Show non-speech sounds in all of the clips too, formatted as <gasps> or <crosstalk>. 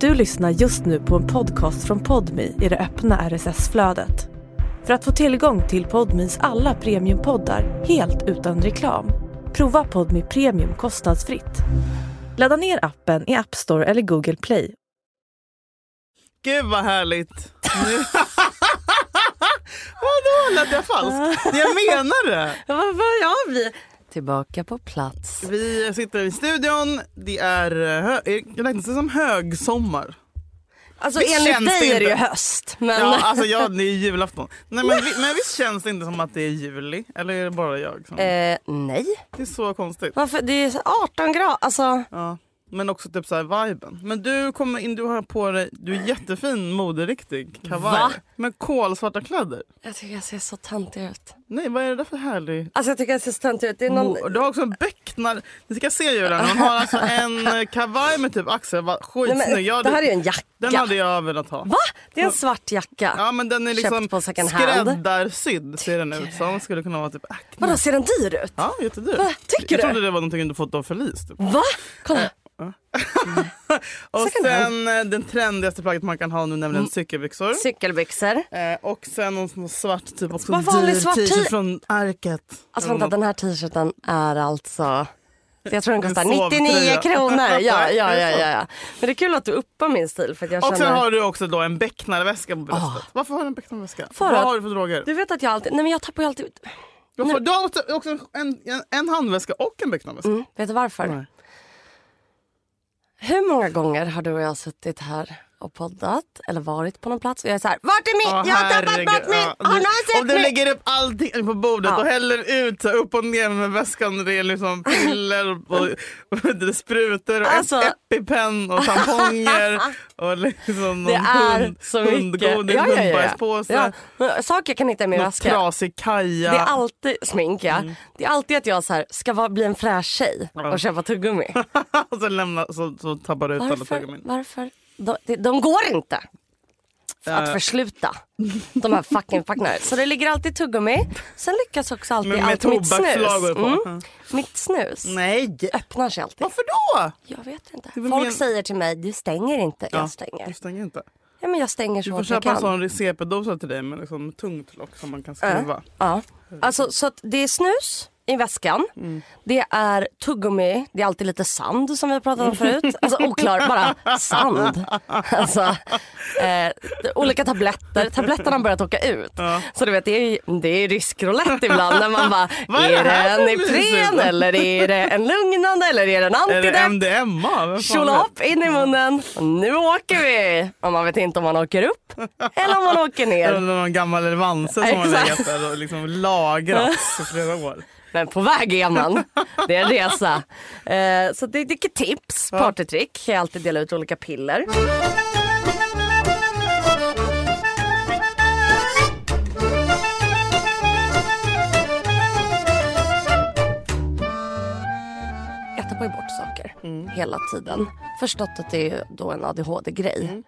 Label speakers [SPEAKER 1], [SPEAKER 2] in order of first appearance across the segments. [SPEAKER 1] Du lyssnar just nu på en podcast från Podmi i det öppna RSS-flödet. För att få tillgång till Podmis alla premiumpoddar helt utan reklam, prova Podmi Premium kostnadsfritt. Ladda ner appen i App Store eller Google Play.
[SPEAKER 2] Gud vad härligt! Nu- <laughs> Vadå, lät jag falskt? Jag menar det!
[SPEAKER 3] Tillbaka på plats.
[SPEAKER 2] Vi sitter i studion, det är, eh, hö- jag räknas det som högsommar?
[SPEAKER 3] Alltså
[SPEAKER 2] Visst
[SPEAKER 3] enligt
[SPEAKER 2] känns
[SPEAKER 3] dig
[SPEAKER 2] det
[SPEAKER 3] är det ju
[SPEAKER 2] inte?
[SPEAKER 3] höst. Men...
[SPEAKER 2] Ja, alltså ja, det är ju julafton. Nej, men, vi, men visst känns det inte som att det är juli? Eller är det bara jag? Som?
[SPEAKER 3] Eh, nej.
[SPEAKER 2] Det är så konstigt.
[SPEAKER 3] Varför? Det är så 18 grader. Alltså,
[SPEAKER 2] Ja. Men också typ så här viben. Men du kommer in, du har på dig, du är jättefin moderiktig kavaj.
[SPEAKER 3] Va?
[SPEAKER 2] Med kolsvarta kläder.
[SPEAKER 3] jag tycker jag ser så töntig ut.
[SPEAKER 2] Nej, vad är det där för härlig
[SPEAKER 3] Alltså jag tycker jag ser så töntig ut. Det är någon...
[SPEAKER 2] Mo- Du har också en becknar... Ni ska se Julian, hon har alltså en eh, kavaj med typ axel. va-
[SPEAKER 3] Nej,
[SPEAKER 2] Skitsnygg.
[SPEAKER 3] men,
[SPEAKER 2] Jag,
[SPEAKER 3] det här är ju en jacka.
[SPEAKER 2] den hade jag velat ha.
[SPEAKER 3] Va? Det är en svart jacka.
[SPEAKER 2] Ja men den är
[SPEAKER 3] Köpt
[SPEAKER 2] liksom
[SPEAKER 3] på second hand.
[SPEAKER 2] skräddarsydd ser den ut som. Skulle kunna vara typ Acne.
[SPEAKER 3] Vadå, ser den dyr ut?
[SPEAKER 2] Ja jättedyr.
[SPEAKER 3] Va? Tycker
[SPEAKER 2] jag
[SPEAKER 3] du? Mm.
[SPEAKER 2] trodde det var någonting du fått av Felice. Typ.
[SPEAKER 3] Va? Kolla.
[SPEAKER 2] Och
[SPEAKER 3] Second Mm.
[SPEAKER 2] sen eh, den trendigaste plagget man kan ha nu nämligen cykelbyxor.
[SPEAKER 3] Cykelbyxor.
[SPEAKER 2] Eh, och sen någon sån svart typ också
[SPEAKER 3] Vad vanlig
[SPEAKER 2] dyr
[SPEAKER 3] svart
[SPEAKER 2] t-shirt
[SPEAKER 3] t-
[SPEAKER 2] från Arket.
[SPEAKER 3] Alltså vänta, den här t-shirten är alltså... Jag tror den
[SPEAKER 2] En
[SPEAKER 3] kostar
[SPEAKER 2] sovtröja.
[SPEAKER 3] 99 kronor. Ja, ja, ja,
[SPEAKER 2] Är det
[SPEAKER 3] ja,
[SPEAKER 2] så? <laughs>
[SPEAKER 3] ja. Men det är kul att du uppar min stil. För att jag
[SPEAKER 2] Och sen
[SPEAKER 3] känner...
[SPEAKER 2] har du också då en becknarväska på bröstet. Varför har du en becknarväska?
[SPEAKER 3] Ah. För
[SPEAKER 2] Vad
[SPEAKER 3] att-
[SPEAKER 2] har du för droger?
[SPEAKER 3] Du vet att jag alltid... Nej men jag tappar ju alltid ut.
[SPEAKER 2] Du har, du har också- också en, en, en handväska och en becknarväska.
[SPEAKER 3] Mm, vet du varför?
[SPEAKER 2] Nej.
[SPEAKER 3] Hur många gånger har du och jag suttit här och poddat eller varit på någon plats och jag är så här, vart är mitt?
[SPEAKER 2] Åh,
[SPEAKER 3] jag har tappat
[SPEAKER 2] herregud.
[SPEAKER 3] bort
[SPEAKER 2] Ja,
[SPEAKER 3] mitt! Har
[SPEAKER 2] du-
[SPEAKER 3] någon sett
[SPEAKER 2] Om du
[SPEAKER 3] mitt?
[SPEAKER 2] lägger upp allting på bordet
[SPEAKER 3] Ja.
[SPEAKER 2] och häller ut så här upp och ner med väskan. Det är
[SPEAKER 3] <laughs>
[SPEAKER 2] liksom piller och, och, och det är sprutor och
[SPEAKER 3] Alltså-
[SPEAKER 2] ep- epipen
[SPEAKER 3] <laughs>
[SPEAKER 2] och tamponger och liksom någon
[SPEAKER 3] Det är
[SPEAKER 2] hund,
[SPEAKER 3] så mycket.
[SPEAKER 2] hundgodis, hundbajspåse.
[SPEAKER 3] Ja, men Saker kan inte i min
[SPEAKER 2] Någon
[SPEAKER 3] väska.
[SPEAKER 2] trasig kaja.
[SPEAKER 3] Det är alltid smink ja. Det är alltid att jag så här, ska vara, bli en fräsch tjej
[SPEAKER 2] Mm. Ja.
[SPEAKER 3] och köpa tuggummi.
[SPEAKER 2] och så, lämna, så, så tappar du ut alla
[SPEAKER 3] Varför?
[SPEAKER 2] tuggummin.
[SPEAKER 3] Varför? De, de, de går inte att
[SPEAKER 2] Eh.
[SPEAKER 3] försluta. De här fucking packningarna. Så det ligger alltid tuggummi. Sen lyckas också alltid
[SPEAKER 2] Med, med
[SPEAKER 3] allt mitt snus.
[SPEAKER 2] tobaksflagor på.
[SPEAKER 3] Mm. Mitt snus
[SPEAKER 2] Nej!
[SPEAKER 3] öppnar sig alltid.
[SPEAKER 2] Varför då?
[SPEAKER 3] Jag vet inte.
[SPEAKER 2] väl
[SPEAKER 3] Folk
[SPEAKER 2] men-
[SPEAKER 3] säger till mig, du stänger inte.
[SPEAKER 2] Ja,
[SPEAKER 3] Jag stänger.
[SPEAKER 2] Du stänger inte.
[SPEAKER 3] Ja, men jag stänger
[SPEAKER 2] Du
[SPEAKER 3] så
[SPEAKER 2] får
[SPEAKER 3] hårt jag
[SPEAKER 2] köpa en
[SPEAKER 3] kan.
[SPEAKER 2] sån CP-dosa till dig med liksom tungt lock som man kan skruva.
[SPEAKER 3] Ja. Alltså, så att det är snus i väskan.
[SPEAKER 2] Mm.
[SPEAKER 3] Det är tuggummi. Det är alltid lite sand som vi har pratat
[SPEAKER 2] Mm.
[SPEAKER 3] om förut. Alltså oklar, bara
[SPEAKER 2] <laughs>
[SPEAKER 3] sand. Alltså, eh, olika tabletter. Tabletterna har börjat åka ut. Så du vet, det är, ju- det är ryskroulette ibland när man bara,
[SPEAKER 2] <laughs> Vad är det
[SPEAKER 3] är det
[SPEAKER 2] här
[SPEAKER 3] en
[SPEAKER 2] för
[SPEAKER 3] Ipren
[SPEAKER 2] mysigt?
[SPEAKER 3] eller är det en lugnande eller är det en
[SPEAKER 2] Är Äh, det
[SPEAKER 3] antidepp?
[SPEAKER 2] MDMA? Vem fan vet?
[SPEAKER 3] Tjolahopp, in i munnen. Nu åker vi! Och man vet inte om man åker upp eller om man åker
[SPEAKER 2] Eller
[SPEAKER 3] ner.
[SPEAKER 2] någon gammal revanse som har
[SPEAKER 3] Exakt.
[SPEAKER 2] legat där och liksom <laughs> lagrats i flera år.
[SPEAKER 3] Men på väg är man. Det är en resa. Eh, så det, det är tips, partytrick. Jag alltid dela ut olika piller. Jag tappar ju bort saker
[SPEAKER 2] Mm.
[SPEAKER 3] hela tiden. Förstått att det är ju då en ADHD-grej.
[SPEAKER 2] Mm.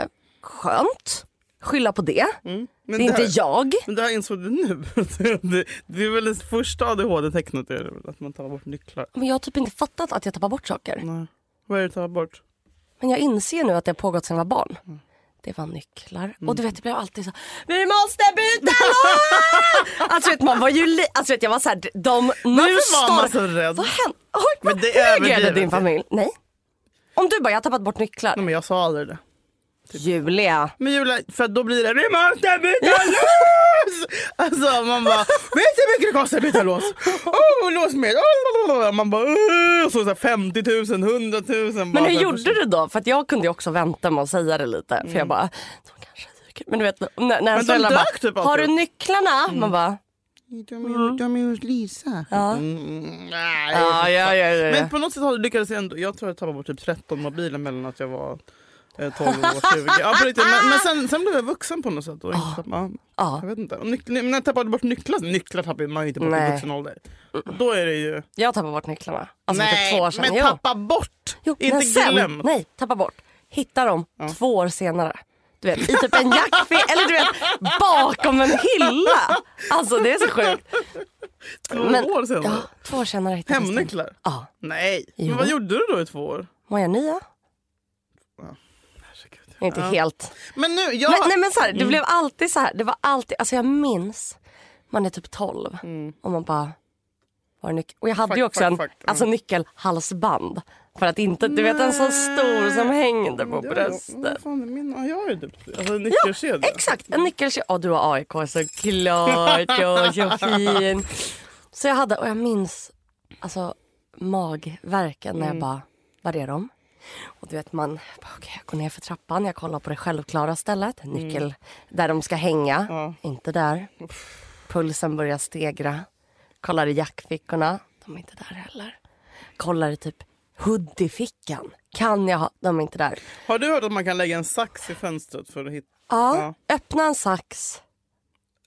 [SPEAKER 3] Eh, skönt. Skylla på det.
[SPEAKER 2] Men
[SPEAKER 3] det är
[SPEAKER 2] Mm. det här-
[SPEAKER 3] inte jag.
[SPEAKER 2] Men det här insåg du nu. <laughs> Det, det är väl det första ADHD-tecknet är det väl, att man tar bort nycklar.
[SPEAKER 3] Men jag har typ inte fattat att jag tappar bort saker.
[SPEAKER 2] Nej. Vad är det du tar bort?
[SPEAKER 3] Men jag inser nu att det har pågått sedan jag var barn.
[SPEAKER 2] Mm.
[SPEAKER 3] Det var nycklar. Och du vet, det blev alltid så Vi måste byta låda! Alltså vet, man var ju li- Alltså vet, jag var såhär, de nu
[SPEAKER 2] Varför var man
[SPEAKER 3] står...
[SPEAKER 2] så rädd?
[SPEAKER 3] Vad hände? Oj,
[SPEAKER 2] Mm. Men
[SPEAKER 3] vad
[SPEAKER 2] det är
[SPEAKER 3] reagerade
[SPEAKER 2] överdrivet.
[SPEAKER 3] din familj? Nej. Om du bara, jag har tappat bort nycklar.
[SPEAKER 2] Nej, men jag sa aldrig det.
[SPEAKER 3] Julia.
[SPEAKER 2] Men Julia, för då blir det vi måste byta lås! Alltså man bara, vet du hur mycket det kostar att byta lås? Oh, lås med. Oh, man bara, oh, så, så här 50 000, 100 000.
[SPEAKER 3] Men hur gjorde du då? För att jag kunde ju också vänta med att säga det lite. För jag bara, de kanske dyker. Men du vet, när, när
[SPEAKER 2] Mm. de
[SPEAKER 3] ens föräldrar bara,
[SPEAKER 2] dök typ
[SPEAKER 3] har du
[SPEAKER 2] alltid. Mm.
[SPEAKER 3] nycklarna? Man bara,
[SPEAKER 2] du? De är hos Lisa.
[SPEAKER 3] ja.
[SPEAKER 2] Mm, nej,
[SPEAKER 3] Ja, ja, ja, ja, ja.
[SPEAKER 2] Men på något sätt har- lyckades jag ändå. Jag tror jag tappade bort typ 13 mobiler mellan att jag var eh, 12 och 20. Ja, på riktigt. men men sen, sen blev jag vuxen på något sätt. Och inte tappade, ja,
[SPEAKER 3] Ja.
[SPEAKER 2] Jag vet inte. Och nyc- men jag tappade bort nycklar. Nycklar tappar man ju inte bort
[SPEAKER 3] Nej.
[SPEAKER 2] i vuxen ålder. Då är det ju...
[SPEAKER 3] Jag tappade bort nycklarna. Alltså Nej, för två år sedan.
[SPEAKER 2] men
[SPEAKER 3] Jo.
[SPEAKER 2] tappa bort!
[SPEAKER 3] Jo,
[SPEAKER 2] inte
[SPEAKER 3] men sen,
[SPEAKER 2] glöm.
[SPEAKER 3] Nej, tappa bort. Hitta dem två år senare. Du vet, i typ en jackficka <laughs> eller du vet, bakom en hylla. Alltså det är så sjukt.
[SPEAKER 2] Två år senare.
[SPEAKER 3] Ja, två år senare hittade jag dem.
[SPEAKER 2] Hemnycklar?
[SPEAKER 3] Ja.
[SPEAKER 2] Nej.
[SPEAKER 3] Jo.
[SPEAKER 2] Men vad gjorde du då i två år?
[SPEAKER 3] Mår jag nya?
[SPEAKER 2] Herregud.
[SPEAKER 3] Inte helt.
[SPEAKER 2] Men nu, jag...
[SPEAKER 3] Men, nej men så här,
[SPEAKER 2] Mm.
[SPEAKER 3] det blev alltid så här. Det var alltid, alltså jag minns, man är typ 12 och man bara, var är nyc-? Och jag hade
[SPEAKER 2] Mm. Fuck,
[SPEAKER 3] ju också
[SPEAKER 2] fuck,
[SPEAKER 3] en
[SPEAKER 2] fuck. Mm.
[SPEAKER 3] Alltså, nyckelhalsband. För att inte, du vet en så stor som hängde på bröstet.
[SPEAKER 2] Vad fan är min? Ja, jag har ju typ alltså, en nyckelkedja.
[SPEAKER 3] Exakt, en nyckelkedja. Ja, du har AIK såklart. Ja, så fin. Så jag hade, och jag minns alltså, magverken när jag bara, var är de? Och du vet man, bara, okej, jag går ner för trappan, jag kollar på det självklara stället, nyckel där de ska hänga, inte där. Pulsen börjar stegra, kollar i jackfickorna, de är inte där heller. Kollar i typ hoodiefickan, kan jag ha, de är inte där.
[SPEAKER 2] Har du hört att man kan lägga en sax i fönstret för att hitta
[SPEAKER 3] Ja, öppna en sax,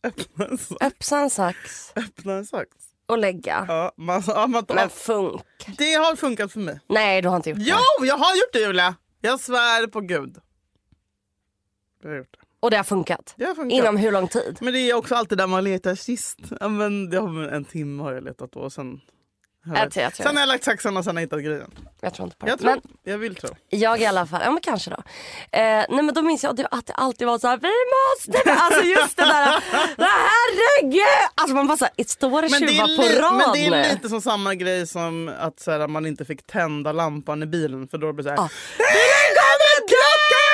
[SPEAKER 2] öppna en, sa-
[SPEAKER 3] öppna en sax.
[SPEAKER 2] öppna en sax?
[SPEAKER 3] och lägga.
[SPEAKER 2] Ja, man, ja, man,
[SPEAKER 3] Men funk.
[SPEAKER 2] det har funkat för mig.
[SPEAKER 3] Nej, du har inte gjort det.
[SPEAKER 2] Jo, jag har gjort det Julia! Jag svär på gud. Jag har gjort det.
[SPEAKER 3] Och det har funkat.
[SPEAKER 2] Det har funkat.
[SPEAKER 3] Inom hur lång tid?
[SPEAKER 2] Men det är också alltid där man letar sist. Ja, men det har, men en timme har jag letat då och sen har jag,
[SPEAKER 3] Jag tror- jag tror-
[SPEAKER 2] sen har jag lagt saxen och sen har jag hittat grejen.
[SPEAKER 3] Jag tror inte på det.
[SPEAKER 2] Jag, tror,
[SPEAKER 3] Men
[SPEAKER 2] jag vill tro.
[SPEAKER 3] jag i alla fall. Ja, men kanske då. Eh, nej, men då minns jag att det- att det alltid var så här. Vi måste... Alltså just det där. Herregud! Alltså man bara så här, det står en
[SPEAKER 2] Men det,
[SPEAKER 3] tjuva
[SPEAKER 2] är
[SPEAKER 3] på
[SPEAKER 2] li-
[SPEAKER 3] rad
[SPEAKER 2] men det är
[SPEAKER 3] nu.
[SPEAKER 2] lite som samma grej som att så här, man inte fick tända lampan i bilen för då blir det så här...
[SPEAKER 3] Ja.
[SPEAKER 2] "Bilen kommer
[SPEAKER 3] <laughs>
[SPEAKER 2] krocka!"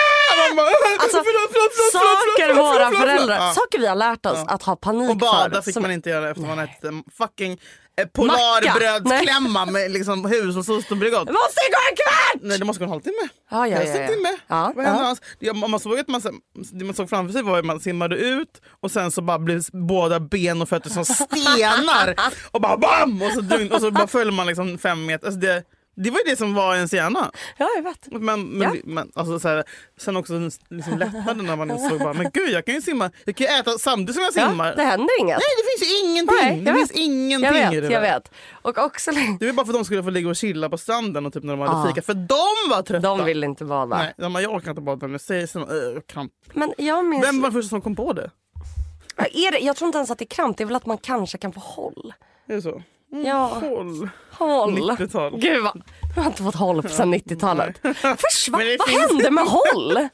[SPEAKER 2] Man bara, <laughs>
[SPEAKER 3] Alltså,
[SPEAKER 2] "Förlåt, förlåt, förlåt, förlåt,
[SPEAKER 3] Saker
[SPEAKER 2] förlåt, förlåt,
[SPEAKER 3] våra
[SPEAKER 2] förlåt,
[SPEAKER 3] föräldrar,
[SPEAKER 2] förlåt." Ja.
[SPEAKER 3] saker vi har lärt oss att ha panik
[SPEAKER 2] Och bada
[SPEAKER 3] för.
[SPEAKER 2] fick
[SPEAKER 3] som-
[SPEAKER 2] man inte göra efter man ätit en fucking eh, polarbrödsklämma med liksom hushållsost och Bregott.
[SPEAKER 3] Vi måste gå en kvart!
[SPEAKER 2] Nej det måste gå en halvtimme.
[SPEAKER 3] Ja, ja,
[SPEAKER 2] Helst
[SPEAKER 3] ja, ja.
[SPEAKER 2] en timme.
[SPEAKER 3] Ja,
[SPEAKER 2] Vad hände
[SPEAKER 3] ja.
[SPEAKER 2] annars? Ja, man, man såg att man, sen- det man såg framför sig var att man simmade ut och sen så bara blev s- båda ben och fötter som
[SPEAKER 3] <laughs>
[SPEAKER 2] stenar och bara bam! Och så, dun- och så bara föll man liksom fem meter. Alltså det, det var ju det som var ens hjärna.
[SPEAKER 3] Ja, jag vet.
[SPEAKER 2] Men, men,
[SPEAKER 3] Ja.
[SPEAKER 2] men, alltså, så här, sen också liksom lättnaden när man insåg bara, men gud jag kan ju simma, jag kan ju äta samtidigt som jag
[SPEAKER 3] Ja,
[SPEAKER 2] simmar.
[SPEAKER 3] det händer inget.
[SPEAKER 2] Nej det finns ju ingenting.
[SPEAKER 3] Nej, jag
[SPEAKER 2] det
[SPEAKER 3] vet.
[SPEAKER 2] finns ingenting
[SPEAKER 3] jag
[SPEAKER 2] i det
[SPEAKER 3] vet,
[SPEAKER 2] där.
[SPEAKER 3] jag vet. Och också... <laughs>
[SPEAKER 2] Det var bara för att de skulle få ligga och chilla på stranden och typ när de hade
[SPEAKER 3] Ah.
[SPEAKER 2] fika. För de var trötta.
[SPEAKER 3] De vill inte bada.
[SPEAKER 2] Nej, de bara, jag orkar inte bada nu. Säger sina, "Öh, kramp.
[SPEAKER 3] Men jag minns...
[SPEAKER 2] Vem var den första som kom på det?
[SPEAKER 3] Är det, jag tror inte ens att det är kramp, det är väl att man kanske kan få håll.
[SPEAKER 2] Är det så? Mm,
[SPEAKER 3] Ja,
[SPEAKER 2] Håll.
[SPEAKER 3] håll.
[SPEAKER 2] 90-tal.
[SPEAKER 3] Gud vad, jag har inte fått håll
[SPEAKER 2] <laughs>
[SPEAKER 3] sedan 90-talet. Försvann,
[SPEAKER 2] Men det
[SPEAKER 3] vad
[SPEAKER 2] finns-
[SPEAKER 3] hände med håll?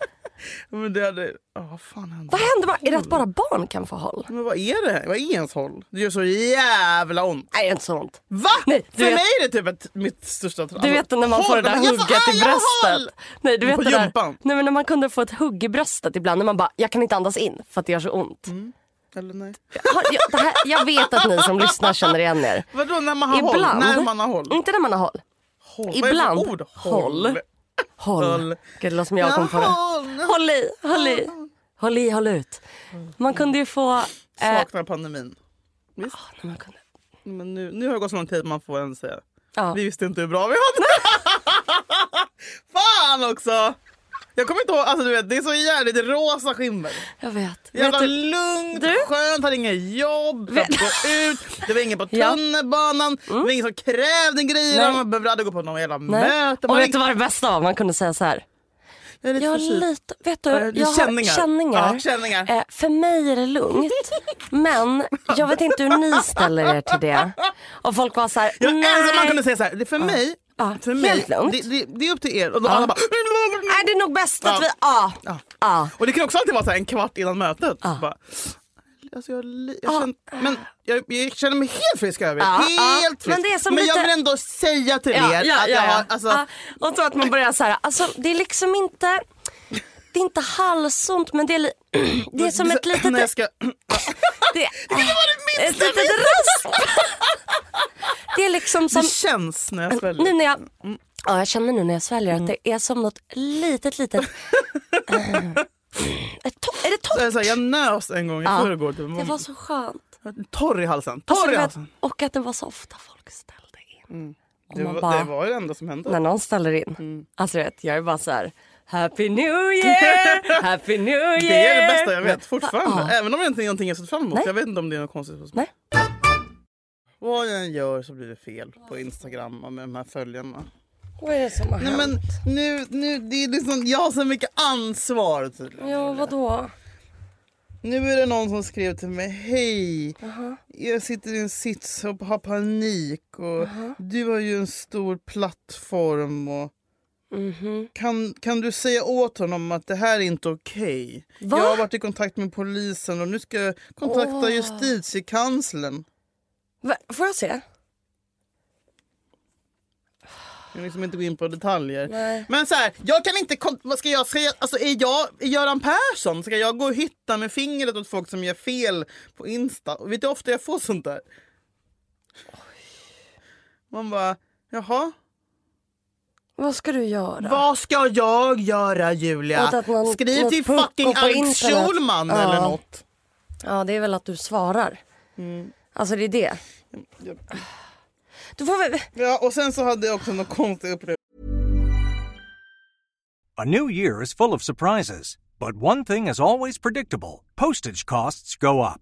[SPEAKER 2] Men det hade... Ja, vad fan hände?
[SPEAKER 3] Vad hände med, är det att bara barn kan få håll?
[SPEAKER 2] Men vad är det? här? Vad är ens håll? Det gör så jävla ont.
[SPEAKER 3] Nej, det är inte så ont.
[SPEAKER 2] Va?
[SPEAKER 3] Nej,
[SPEAKER 2] för
[SPEAKER 3] du vet-
[SPEAKER 2] mig är det typ ett, mitt största Alltså, trauma.
[SPEAKER 3] Du vet när man får det där hugget i bröstet. Nej, du vet
[SPEAKER 2] På
[SPEAKER 3] det där,
[SPEAKER 2] gympan.
[SPEAKER 3] nej, men när man kunde få ett hugg i bröstet ibland när man bara, jag kan inte andas in för att det gör så ont.
[SPEAKER 2] Mm. Eller nej.
[SPEAKER 3] Har, jag, det här, jag vet att ni som lyssnar känner igen er.
[SPEAKER 2] Vadå när man har
[SPEAKER 3] Ibland.
[SPEAKER 2] håll? När man har håll?
[SPEAKER 3] Inte när man har håll.
[SPEAKER 2] håll.
[SPEAKER 3] ibland.
[SPEAKER 2] Vad är det för ord?
[SPEAKER 3] Håll. Håll.
[SPEAKER 2] Håll.
[SPEAKER 3] Gud, det låter som jag kom på det.
[SPEAKER 2] Håll.
[SPEAKER 3] Håll i, håll i. Håll i, håll ut. Man kunde ju få... Eh, när
[SPEAKER 2] Saknar pandemin.
[SPEAKER 3] man kunde,
[SPEAKER 2] Men nu, nu har det gått så lång tid man får ens säga.
[SPEAKER 3] ja.
[SPEAKER 2] Vi visste inte hur bra vi hade <laughs> Fan också! Jag kommer inte ihåg, alltså du vet det är så jävligt rosa skimmer.
[SPEAKER 3] Jag vet. vet
[SPEAKER 2] Jävla
[SPEAKER 3] du,
[SPEAKER 2] lugnt,
[SPEAKER 3] du?
[SPEAKER 2] skönt, hade inget jobb,
[SPEAKER 3] Vet-
[SPEAKER 2] kunde gå ut, det var ingen på
[SPEAKER 3] Ja. Mm.
[SPEAKER 2] tunnelbanan, det var ingen som krävde grejer,
[SPEAKER 3] Nej.
[SPEAKER 2] man behövde aldrig gå på någon jävla
[SPEAKER 3] nej.
[SPEAKER 2] möte. Man
[SPEAKER 3] Och vet
[SPEAKER 2] ring-
[SPEAKER 3] du vad det bästa var? Man kunde säga så här.
[SPEAKER 2] jag är lite
[SPEAKER 3] Jag har
[SPEAKER 2] förkyld.
[SPEAKER 3] lite... Vet du,
[SPEAKER 2] Ja, det är
[SPEAKER 3] jag har
[SPEAKER 2] känningar.
[SPEAKER 3] känningar.
[SPEAKER 2] Ja, känningar.
[SPEAKER 3] Eh, för mig är det lugnt. Men jag vet inte hur ni ställer er till det. Och folk var så här...
[SPEAKER 2] Jag älskar att man
[SPEAKER 3] nej.
[SPEAKER 2] kunde säga såhär, det är för mig,
[SPEAKER 3] Ja,
[SPEAKER 2] för
[SPEAKER 3] helt
[SPEAKER 2] mig
[SPEAKER 3] lugnt.
[SPEAKER 2] det, det, det är upp till er. Och då alla bara...
[SPEAKER 3] Nej, det är nog bäst att
[SPEAKER 2] Ja.
[SPEAKER 3] vi... Ja.
[SPEAKER 2] Ja.
[SPEAKER 3] ja.
[SPEAKER 2] Och det kan också alltid vara så här en kvart innan mötet. Bara, alltså jag, li- jag,
[SPEAKER 3] Ah.
[SPEAKER 2] känner, men jag, jag känner mig helt frisk över
[SPEAKER 3] Ja, ja.
[SPEAKER 2] Helt frisk.
[SPEAKER 3] ah. Men det är som
[SPEAKER 2] jag
[SPEAKER 3] lite-
[SPEAKER 2] vill ändå säga till
[SPEAKER 3] Ja,
[SPEAKER 2] er
[SPEAKER 3] ja,
[SPEAKER 2] att jag
[SPEAKER 3] ja, ja. Ah,
[SPEAKER 2] har... Alltså,
[SPEAKER 3] Ja, och så att man börjar så här, alltså det är liksom inte, det är inte halsont men det är, li, <clears throat> det är som ett litet,
[SPEAKER 2] När jag ska, <clears throat>
[SPEAKER 3] det,
[SPEAKER 2] <laughs> det
[SPEAKER 3] ett litet rasp. <laughs> Det är liksom som,
[SPEAKER 2] det känns när jag sväljer.
[SPEAKER 3] nu när jag, ja jag känner nu när jag sväljer
[SPEAKER 2] Mm.
[SPEAKER 3] att det är som något litet litet,
[SPEAKER 2] <laughs>
[SPEAKER 3] eh, ett to, är det
[SPEAKER 2] Så
[SPEAKER 3] torrt?
[SPEAKER 2] jag, så här, jag nös en gång i
[SPEAKER 3] Ja.
[SPEAKER 2] förrgår. Typ.
[SPEAKER 3] Ah. Det var så skönt.
[SPEAKER 2] Torr i halsen. Torr
[SPEAKER 3] Alltså, du
[SPEAKER 2] i
[SPEAKER 3] vet,
[SPEAKER 2] halsen.
[SPEAKER 3] och att det var så ofta folk ställde in. Och
[SPEAKER 2] Mm. Det
[SPEAKER 3] man
[SPEAKER 2] var,
[SPEAKER 3] bara-
[SPEAKER 2] det var ju det enda som hände.
[SPEAKER 3] när någon ställer in.
[SPEAKER 2] Mm.
[SPEAKER 3] Alltså du vet, jag är bara så här. Happy new
[SPEAKER 2] <laughs>
[SPEAKER 3] year, happy new year.
[SPEAKER 2] Det är det bästa jag vet fortfarande.
[SPEAKER 3] Ja.
[SPEAKER 2] Även om det inte är någonting jag sett fram emot.
[SPEAKER 3] ah. Nej.
[SPEAKER 2] Jag vet inte om det är något konstigt hos mig.
[SPEAKER 3] Nej.
[SPEAKER 2] Vad jag än gör så blir det fel på Instagram och med de här följarna.
[SPEAKER 3] Vad är det som har
[SPEAKER 2] Nej,
[SPEAKER 3] hänt?
[SPEAKER 2] men nu, nu, det är liksom, jag har så mycket ansvar tydligen.
[SPEAKER 3] Ja, vadå?
[SPEAKER 2] Nu är det någon som skrev till mig. Hej, jag sitter i en sits och har panik. Och Du har ju en stor plattform. Och
[SPEAKER 3] Mhm.
[SPEAKER 2] Kan, kan du säga åt honom att det här är inte okej?
[SPEAKER 3] Va?
[SPEAKER 2] Jag har varit i kontakt med polisen och nu ska jag kontakta
[SPEAKER 3] Åh.
[SPEAKER 2] justitiekanslern.
[SPEAKER 3] Va, får jag se?
[SPEAKER 2] Jag kan liksom inte gå in på detaljer.
[SPEAKER 3] Nej.
[SPEAKER 2] Men så här, jag kan inte... kon- Vad ska jag säga? Alltså, är jag är Göran Persson? Ska jag gå och hytta med fingret åt folk som gör fel på Insta? Och vet du hur ofta jag får sånt där? Man bara, jaha?
[SPEAKER 3] Vad ska du göra?
[SPEAKER 2] Vad ska jag göra
[SPEAKER 3] Åt
[SPEAKER 2] Julia?
[SPEAKER 3] att någon-
[SPEAKER 2] Skriv
[SPEAKER 3] något
[SPEAKER 2] till
[SPEAKER 3] pucko
[SPEAKER 2] fucking
[SPEAKER 3] på
[SPEAKER 2] Alex
[SPEAKER 3] internet.
[SPEAKER 2] Schulman
[SPEAKER 3] Ja.
[SPEAKER 2] eller något.
[SPEAKER 3] Ja, det är väl att du svarar.
[SPEAKER 2] Mm.
[SPEAKER 3] Alltså det är det. Du får väl...
[SPEAKER 2] Ja, och sen så hade jag också något konstigt upplevelse.
[SPEAKER 4] A new year is full of surprises, but one thing is always predictable postage costs go up.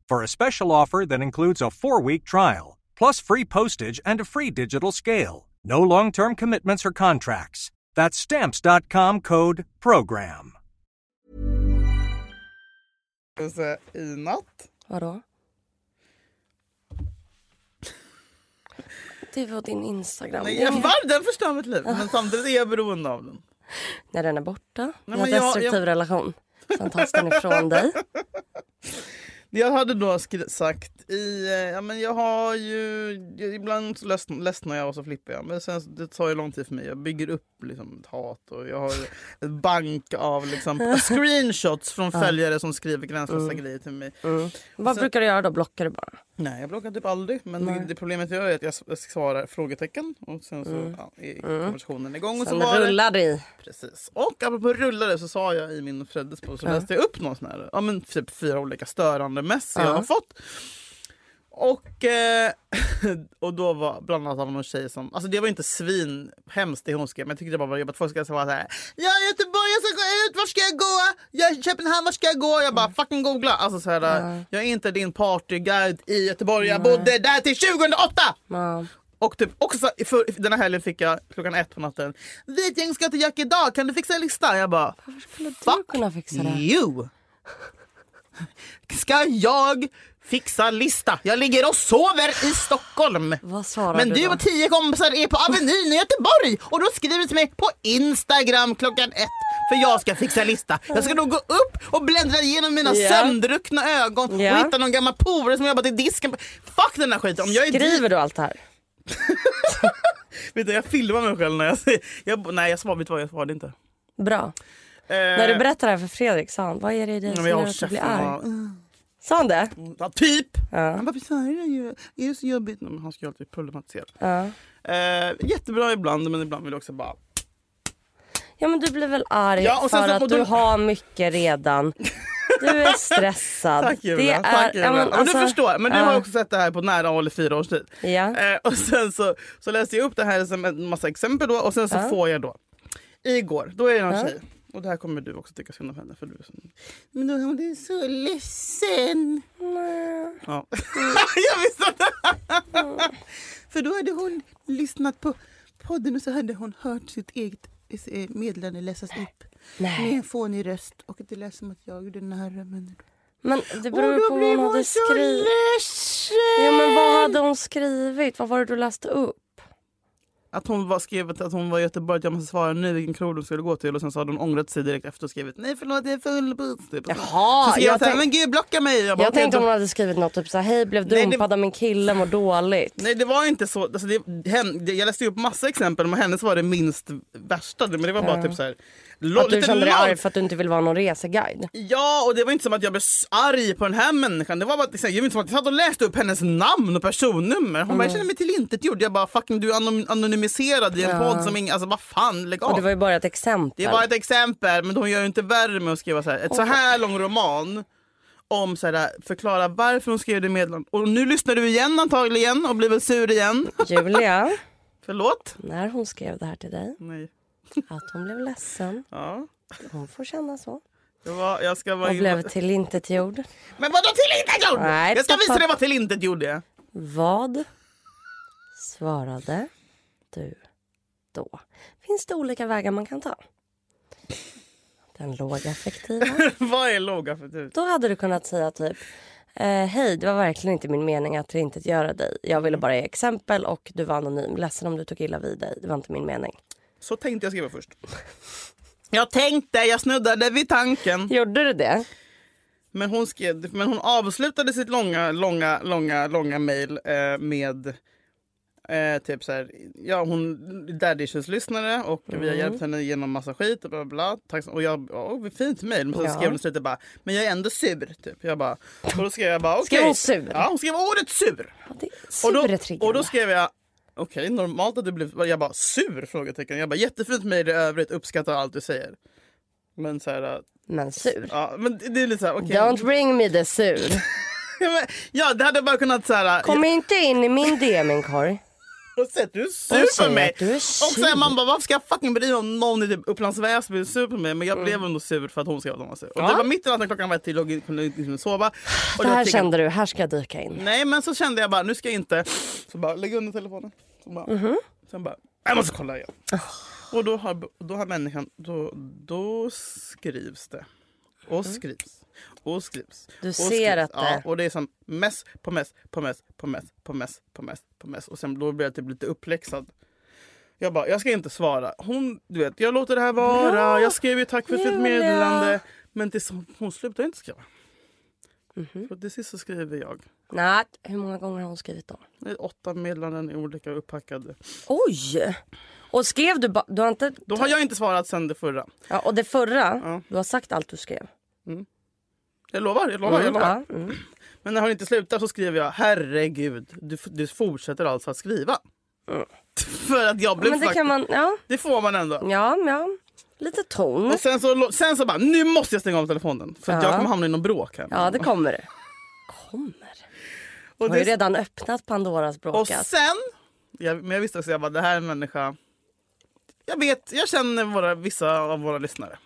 [SPEAKER 4] for a special offer that includes a four week trial, plus free postage and a free digital scale. No long term commitments or contracts. That's Stamps.com code PROGRAM.
[SPEAKER 2] i natt.
[SPEAKER 3] Vadå? Det var din Instagram.
[SPEAKER 2] Nej,
[SPEAKER 3] Det är
[SPEAKER 2] jag
[SPEAKER 3] ingen-
[SPEAKER 2] var, den förstör mitt liv, men samtidigt är jag beroende av den.
[SPEAKER 3] När den är borta. Vi
[SPEAKER 2] men
[SPEAKER 3] har en
[SPEAKER 2] jag-
[SPEAKER 3] destruktiv
[SPEAKER 2] jag-
[SPEAKER 3] relation. Sen tas den
[SPEAKER 2] <laughs>
[SPEAKER 3] ifrån dig.
[SPEAKER 2] Jag hade då skri- sagt i... eh, Ja, men jag har ju... jag- Ibland så ledsn- ledsnar jag och så flippar jag. Men sen, så- det tar ju lång tid för mig. Jag bygger upp liksom, ett hat och jag har <laughs> ett bank av liksom, screenshots från följare som skriver gränslösa grejer till mig.
[SPEAKER 3] Vad brukar du göra då? Blockar du bara?
[SPEAKER 2] Nej, jag bloggar typ aldrig. Men det problemet jag gör är att jag s- jag svarar frågetecken och sen så ja, är konversationen igång. Och så
[SPEAKER 3] Sen
[SPEAKER 2] var det.
[SPEAKER 3] rullar det i.
[SPEAKER 2] Precis. Och apropå rullare så sa jag i min Freddes post så läste jag upp någon sån här, ja, men typ fyra olika störande mess jag har fått. Och, eh, <laughs> och då var bland annat av någon tjej som, alltså det var inte svin hemskt det hon skrev men jag tyckte det bara var jobbigt. Folk ska säga så här, jag är i Göteborg, jag ska gå ut, var ska jag gå? Jag är i Köpenhamn, var ska jag gå? Jag bara fucking googla. Alltså så här, jag är inte din partyguide i Göteborg, jag bodde där till 2008!
[SPEAKER 3] Ja.
[SPEAKER 2] Och typ också så- i för, i den här helgen fick jag klockan ett på natten. Vi är ett gäng ska till Jack idag, kan du fixa en lista? Jag bara,
[SPEAKER 3] Skulle du
[SPEAKER 2] Fuck Mm,
[SPEAKER 3] kunna fixa det?
[SPEAKER 2] you! Ska jag fixa lista? Jag ligger och sover i Stockholm.
[SPEAKER 3] Vad svarar
[SPEAKER 2] Men
[SPEAKER 3] du
[SPEAKER 2] du
[SPEAKER 3] då?
[SPEAKER 2] och tio kompisar är på Avenyn i Göteborg och då skriver du till mig på Instagram klockan ett för jag ska fixa lista. Jag ska då gå upp och bläddra igenom mina
[SPEAKER 3] Ja.
[SPEAKER 2] sömndruckna ögon
[SPEAKER 3] Ja.
[SPEAKER 2] och hitta någon gammal polare som jobbat i disken. Fuck den här skiten. Om jag är
[SPEAKER 3] Skriver du allt det här?
[SPEAKER 2] Vet du, jag filmar mig själv när jag säger... Jag, nej, jag svarade, vet du vad, jag svarade inte.
[SPEAKER 3] Bra.
[SPEAKER 2] Eh,
[SPEAKER 3] När du berättar det här för Fredrik sa han, vad är det i dig som
[SPEAKER 2] men jag
[SPEAKER 3] gör
[SPEAKER 2] håller
[SPEAKER 3] att du
[SPEAKER 2] käften.
[SPEAKER 3] blir
[SPEAKER 2] Ja,
[SPEAKER 3] arg? Sa han det?
[SPEAKER 2] ja, typ!
[SPEAKER 3] Ja.
[SPEAKER 2] Han bara, så här är, det ju. är det så jobbigt? Nej, men han ska ju alltid problematisera.
[SPEAKER 3] ja.
[SPEAKER 2] Eh, jättebra ibland, men ibland vill jag också bara...
[SPEAKER 3] Ja men du blir väl arg
[SPEAKER 2] Ja, och sen
[SPEAKER 3] för
[SPEAKER 2] så-
[SPEAKER 3] att
[SPEAKER 2] och då-
[SPEAKER 3] du har mycket redan.
[SPEAKER 2] <laughs>
[SPEAKER 3] Du är stressad.
[SPEAKER 2] Tack
[SPEAKER 3] Det
[SPEAKER 2] Julia.
[SPEAKER 3] är,
[SPEAKER 2] Tack, Julia.
[SPEAKER 3] Ja, men,
[SPEAKER 2] men,
[SPEAKER 3] alltså,
[SPEAKER 2] du förstår, men du har
[SPEAKER 3] ja.
[SPEAKER 2] också sett det här på nära håll i fyra års tid.
[SPEAKER 3] Ja.
[SPEAKER 2] Eh, och sen så, så läste jag upp det här som en massa exempel då och sen så får jag då. Igår, då är det någon tjej. Och det här kommer du också tycka synd om henne. För du är så... Men då hon är så ledsen. Ja. <laughs> jag visste det! Mm. för då hade hon lyssnat på podden och så hade hon hört sitt eget eh, meddelande läsas upp.
[SPEAKER 3] Nej.
[SPEAKER 2] Med en fånig röst. Och det lät som att jag gjorde nära men...
[SPEAKER 3] Men det
[SPEAKER 2] Och
[SPEAKER 3] beror ju
[SPEAKER 2] då
[SPEAKER 3] på vad
[SPEAKER 2] blev
[SPEAKER 3] hon hade
[SPEAKER 2] så
[SPEAKER 3] skrivit.
[SPEAKER 2] ledsen.
[SPEAKER 3] Ja, men vad hade hon skrivit? Vad var det du läste upp?
[SPEAKER 2] Att hon var, skrev att att hon var i Göteborg, att jag måste svara nu vilken krog de skulle gå till. Och sen så hade hon ångrat sig direkt efter och skrivit nej förlåt jag är full buss. Typ.
[SPEAKER 3] Jaha,
[SPEAKER 2] så skrev jag,
[SPEAKER 3] jag
[SPEAKER 2] så här,
[SPEAKER 3] tänk-
[SPEAKER 2] men gud blocka mig. Jag bara,
[SPEAKER 3] Jag
[SPEAKER 2] "Okej,
[SPEAKER 3] tänkte
[SPEAKER 2] då-
[SPEAKER 3] om hon hade skrivit något typ så här, hej blev
[SPEAKER 2] Nej, det-
[SPEAKER 3] dumpad av min kille, mår dåligt.
[SPEAKER 2] Nej det var inte så. Alltså, det, hen, det, jag läste ju upp massa exempel men hennes var det minst värsta. Men det var bara typ så här. lo-
[SPEAKER 3] att du
[SPEAKER 2] lite
[SPEAKER 3] kände dig
[SPEAKER 2] långt.
[SPEAKER 3] arg för att du inte vill vara någon reseguide.
[SPEAKER 2] Ja, och det var inte som att jag blev arg på den här människan. Det var bara att liksom, jag, vet inte, som att jag satt och läste upp hennes namn och personnummer. Hon
[SPEAKER 3] Mm.
[SPEAKER 2] bara, jag känner mig tillintetgjord. Jag bara, fucking du är anom- anonymiserad i en podd som ingen, alltså vad fan, lägg
[SPEAKER 3] Och det
[SPEAKER 2] av.
[SPEAKER 3] var ju bara ett exempel.
[SPEAKER 2] Det var ett <laughs> exempel, men hon gör ju inte värre med att skriva så här. Ett så här lång roman om så här, förklara varför hon skrev det meddelandet. Och nu lyssnar du igen antagligen och blir väl sur igen. <laughs>
[SPEAKER 3] Julia,
[SPEAKER 2] Förlåt?
[SPEAKER 3] när hon skrev det här till dig,
[SPEAKER 2] Nej.
[SPEAKER 3] att hon blev ledsen.
[SPEAKER 2] Ja.
[SPEAKER 3] Hon får känna så.
[SPEAKER 2] Jag, var, jag ska vara...
[SPEAKER 3] Hon blev tillintetgjord.
[SPEAKER 2] Men vadå tillintetgjord?
[SPEAKER 3] Nej,
[SPEAKER 2] Jag ska
[SPEAKER 3] pappa.
[SPEAKER 2] visa dig vad tillintetgjord är. <laughs>
[SPEAKER 3] Vad svarade du då? Finns det olika vägar man kan ta? Den lågaffektiva.
[SPEAKER 2] <laughs> vad är låga för tur?
[SPEAKER 3] Då hade du kunnat säga typ eh, Hej, det var verkligen inte min mening att inte göra dig. Jag ville bara ge exempel och du var anonym. Ledsen om du tog illa vid dig. Det var inte min mening.
[SPEAKER 2] Så tänkte jag skriva först.
[SPEAKER 3] <laughs>
[SPEAKER 2] Jag tänkte, jag snuddade vid tanken.
[SPEAKER 3] Gjorde du det?
[SPEAKER 2] Men hon, skrev, men hon avslutade sitt långa, långa, långa, långa mejl eh, med eh, typ så här, ja hon daddy issues lyssnare och vi
[SPEAKER 3] Mm.
[SPEAKER 2] har hjälpt henne igenom massa skit och bla bla. bla. Tack, så- och jag, åh fint mejl. Men sen
[SPEAKER 3] Ja.
[SPEAKER 2] skrev hon i slutet bara, men jag är ändå sur. Typ. Jag bara, och då skrev jag bara, okej.
[SPEAKER 3] Skrev hon sur?
[SPEAKER 2] Ja hon skrev ordet sur.
[SPEAKER 3] Ja, det är
[SPEAKER 2] Och då,
[SPEAKER 3] supertriggande.
[SPEAKER 2] och då skrev jag Okej, normalt att du blir... Jag bara sur? frågetecken. Jag bara jättefint mejl i övrigt, uppskattar allt du säger. Men så här,
[SPEAKER 3] Men sur.
[SPEAKER 2] ja, men det det är lite så här, okej.
[SPEAKER 3] Don't bring me the sur.
[SPEAKER 2] Men- Ja, det hade bara kunnat så här...
[SPEAKER 3] Kom inte in i min DM-korg.
[SPEAKER 2] Jag har sett du är
[SPEAKER 3] Hon
[SPEAKER 2] sur
[SPEAKER 3] säger
[SPEAKER 2] på mig.
[SPEAKER 3] att du är
[SPEAKER 2] Och så här,
[SPEAKER 3] sur.
[SPEAKER 2] man bara, varför ska jag fucking bry mig om någon i typ Upplands Väsby är sur på mig? Men jag
[SPEAKER 3] Mm.
[SPEAKER 2] blev ändå sur för att hon skrev att hon var sur. Och det var mitt i natten, klockan var ett till och jag kunde inte liksom sova. Och
[SPEAKER 3] Det
[SPEAKER 2] jag
[SPEAKER 3] här
[SPEAKER 2] tänkte-
[SPEAKER 3] kände du, här ska jag dyka in.
[SPEAKER 2] Nej men så kände jag bara, nu ska jag inte... Så bara, lägg under telefonen. Så bara,
[SPEAKER 3] Mhm.
[SPEAKER 2] Sen bara, jag måste kolla igen. Och då har, då har människan, då, då skrivs det. Och
[SPEAKER 3] Mm.
[SPEAKER 2] skrivs. Och skrivs.
[SPEAKER 3] Du
[SPEAKER 2] och
[SPEAKER 3] ser
[SPEAKER 2] skrivs.
[SPEAKER 3] att eh, det-
[SPEAKER 2] Ja, och det är som mess på mess på mess på mess på mess på mess på mess. Och sen då blir jag typ lite uppläxad. Jag bara, jag ska inte svara. Hon, du vet, jag låter det här vara. Jag skrev ju tack för ditt
[SPEAKER 3] Julia.
[SPEAKER 2] meddelande. Men tills hon, hon slutar inte skriva.
[SPEAKER 3] Mhm.
[SPEAKER 2] Så till sist så skriver jag.
[SPEAKER 3] Nej, hur många gånger har hon skrivit dem?
[SPEAKER 2] Det är Åtta meddelanden i olika upppackade.
[SPEAKER 3] Oj! Och skrev du bara... Du har inte...
[SPEAKER 2] Då har jag inte svarat sen det förra.
[SPEAKER 3] Ja, och det förra,
[SPEAKER 2] Ja.
[SPEAKER 3] du har sagt allt du skrev.
[SPEAKER 2] Jag lovar, jag lovar, jag
[SPEAKER 3] Mm,
[SPEAKER 2] lovar.
[SPEAKER 3] ja, mm.
[SPEAKER 2] Men när hon inte slutar så skriver jag herregud, du, f- du fortsätter alltså att skriva. För att jag blev
[SPEAKER 3] Men det
[SPEAKER 2] fakt-
[SPEAKER 3] kan man... Ja,
[SPEAKER 2] det får man ändå.
[SPEAKER 3] ja, ja. Lite ton.
[SPEAKER 2] Och sen så, lo- sen så bara, nu måste jag stänga av telefonen. För att
[SPEAKER 3] Mm. Ja.
[SPEAKER 2] jag kommer hamna i någon bråk här.
[SPEAKER 3] Ja, det kommer det. Kommer? Du
[SPEAKER 2] och,
[SPEAKER 3] har ju
[SPEAKER 2] det,
[SPEAKER 3] redan öppnat Pandoras
[SPEAKER 2] och
[SPEAKER 3] bråkas.
[SPEAKER 2] sen, jag, men jag visste också, jag bara, det här är en människa. Jag vet, jag känner våra, vissa av våra lyssnare.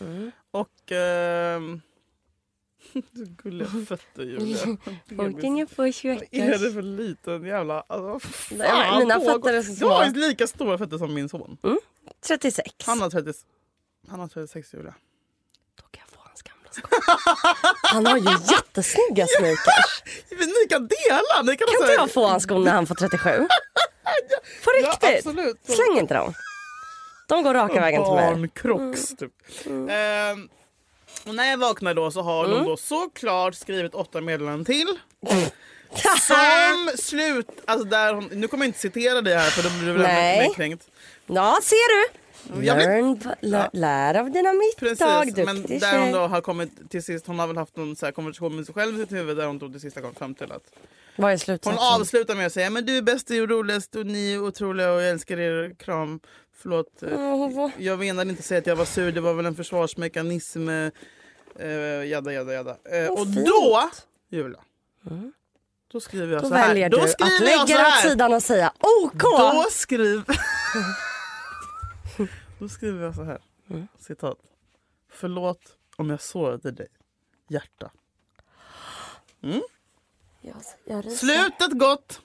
[SPEAKER 3] Mm.
[SPEAKER 2] Och... ehm, <laughs> du gulliga fötter Julia.
[SPEAKER 3] <laughs> Folken är först
[SPEAKER 2] Är det
[SPEAKER 3] veckor.
[SPEAKER 2] för liten jävla... Alltså, fan,
[SPEAKER 3] Nej, men mina
[SPEAKER 2] pågår.
[SPEAKER 3] fötter är
[SPEAKER 2] Du
[SPEAKER 3] så
[SPEAKER 2] har
[SPEAKER 3] små.
[SPEAKER 2] ju lika stora fötter som min son.
[SPEAKER 3] 36.
[SPEAKER 2] Han har, 30, han har 36 Julia.
[SPEAKER 3] Då kan jag få hans gamla skor.
[SPEAKER 2] <laughs>
[SPEAKER 3] Han har ju jättesnygga sneakers.
[SPEAKER 2] Men Ni kan dela! Ni kan
[SPEAKER 3] Kan
[SPEAKER 2] ha så
[SPEAKER 3] inte
[SPEAKER 2] här-
[SPEAKER 3] jag få hans skor när han får 37?
[SPEAKER 2] <laughs>
[SPEAKER 3] På
[SPEAKER 2] alltså. Ja,
[SPEAKER 3] riktigt?
[SPEAKER 2] absolut.
[SPEAKER 3] Släng inte dem. De går raka vägen till mig. Mm.
[SPEAKER 2] Barnkrocks typ. Ehm, och när jag vaknar då så har
[SPEAKER 3] Mm.
[SPEAKER 2] de då såklart skrivit åtta meddelanden till. Som slut... Alltså där hon, nu kommer jag inte citera dig här för då blir du väl
[SPEAKER 3] Nej.
[SPEAKER 2] ännu mer kränkt.
[SPEAKER 3] <laughs> Ja, ser du?
[SPEAKER 2] Jag vet-
[SPEAKER 3] Learn, lär, lär av dina
[SPEAKER 2] Precis,
[SPEAKER 3] misstag,
[SPEAKER 2] men
[SPEAKER 3] duktig
[SPEAKER 2] där hon
[SPEAKER 3] tjej.
[SPEAKER 2] då har kommit till sist, hon har väl haft någon så här konversation med sig själv i sitt huvud där hon då till sist har kommit fram till att
[SPEAKER 3] Vad är
[SPEAKER 2] hon
[SPEAKER 3] slutsatsen?
[SPEAKER 2] avslutar med att säga men du är bäst och roligast och ni är otroliga och jag älskar er, kram, förlåt. eh,
[SPEAKER 3] Ja, hon var-
[SPEAKER 2] Jag menade inte säga att jag var sur, det var väl en försvarsmekanism, eh, eh, jada jada jada. Eh,
[SPEAKER 3] Vad
[SPEAKER 2] och
[SPEAKER 3] fint. Mm.
[SPEAKER 2] då, Julia, då skriver jag
[SPEAKER 3] Då
[SPEAKER 2] så här.
[SPEAKER 3] väljer du att
[SPEAKER 2] skriver jag
[SPEAKER 3] lägga
[SPEAKER 2] så
[SPEAKER 3] det åt
[SPEAKER 2] här.
[SPEAKER 3] sidan och säga OK.
[SPEAKER 2] Då skriver... <laughs> Då skriver jag så här.
[SPEAKER 3] Mm.
[SPEAKER 2] Citat. Förlåt om jag sårade dig. Hjärta.
[SPEAKER 3] Jag, jag ryser.
[SPEAKER 2] Slutet gott.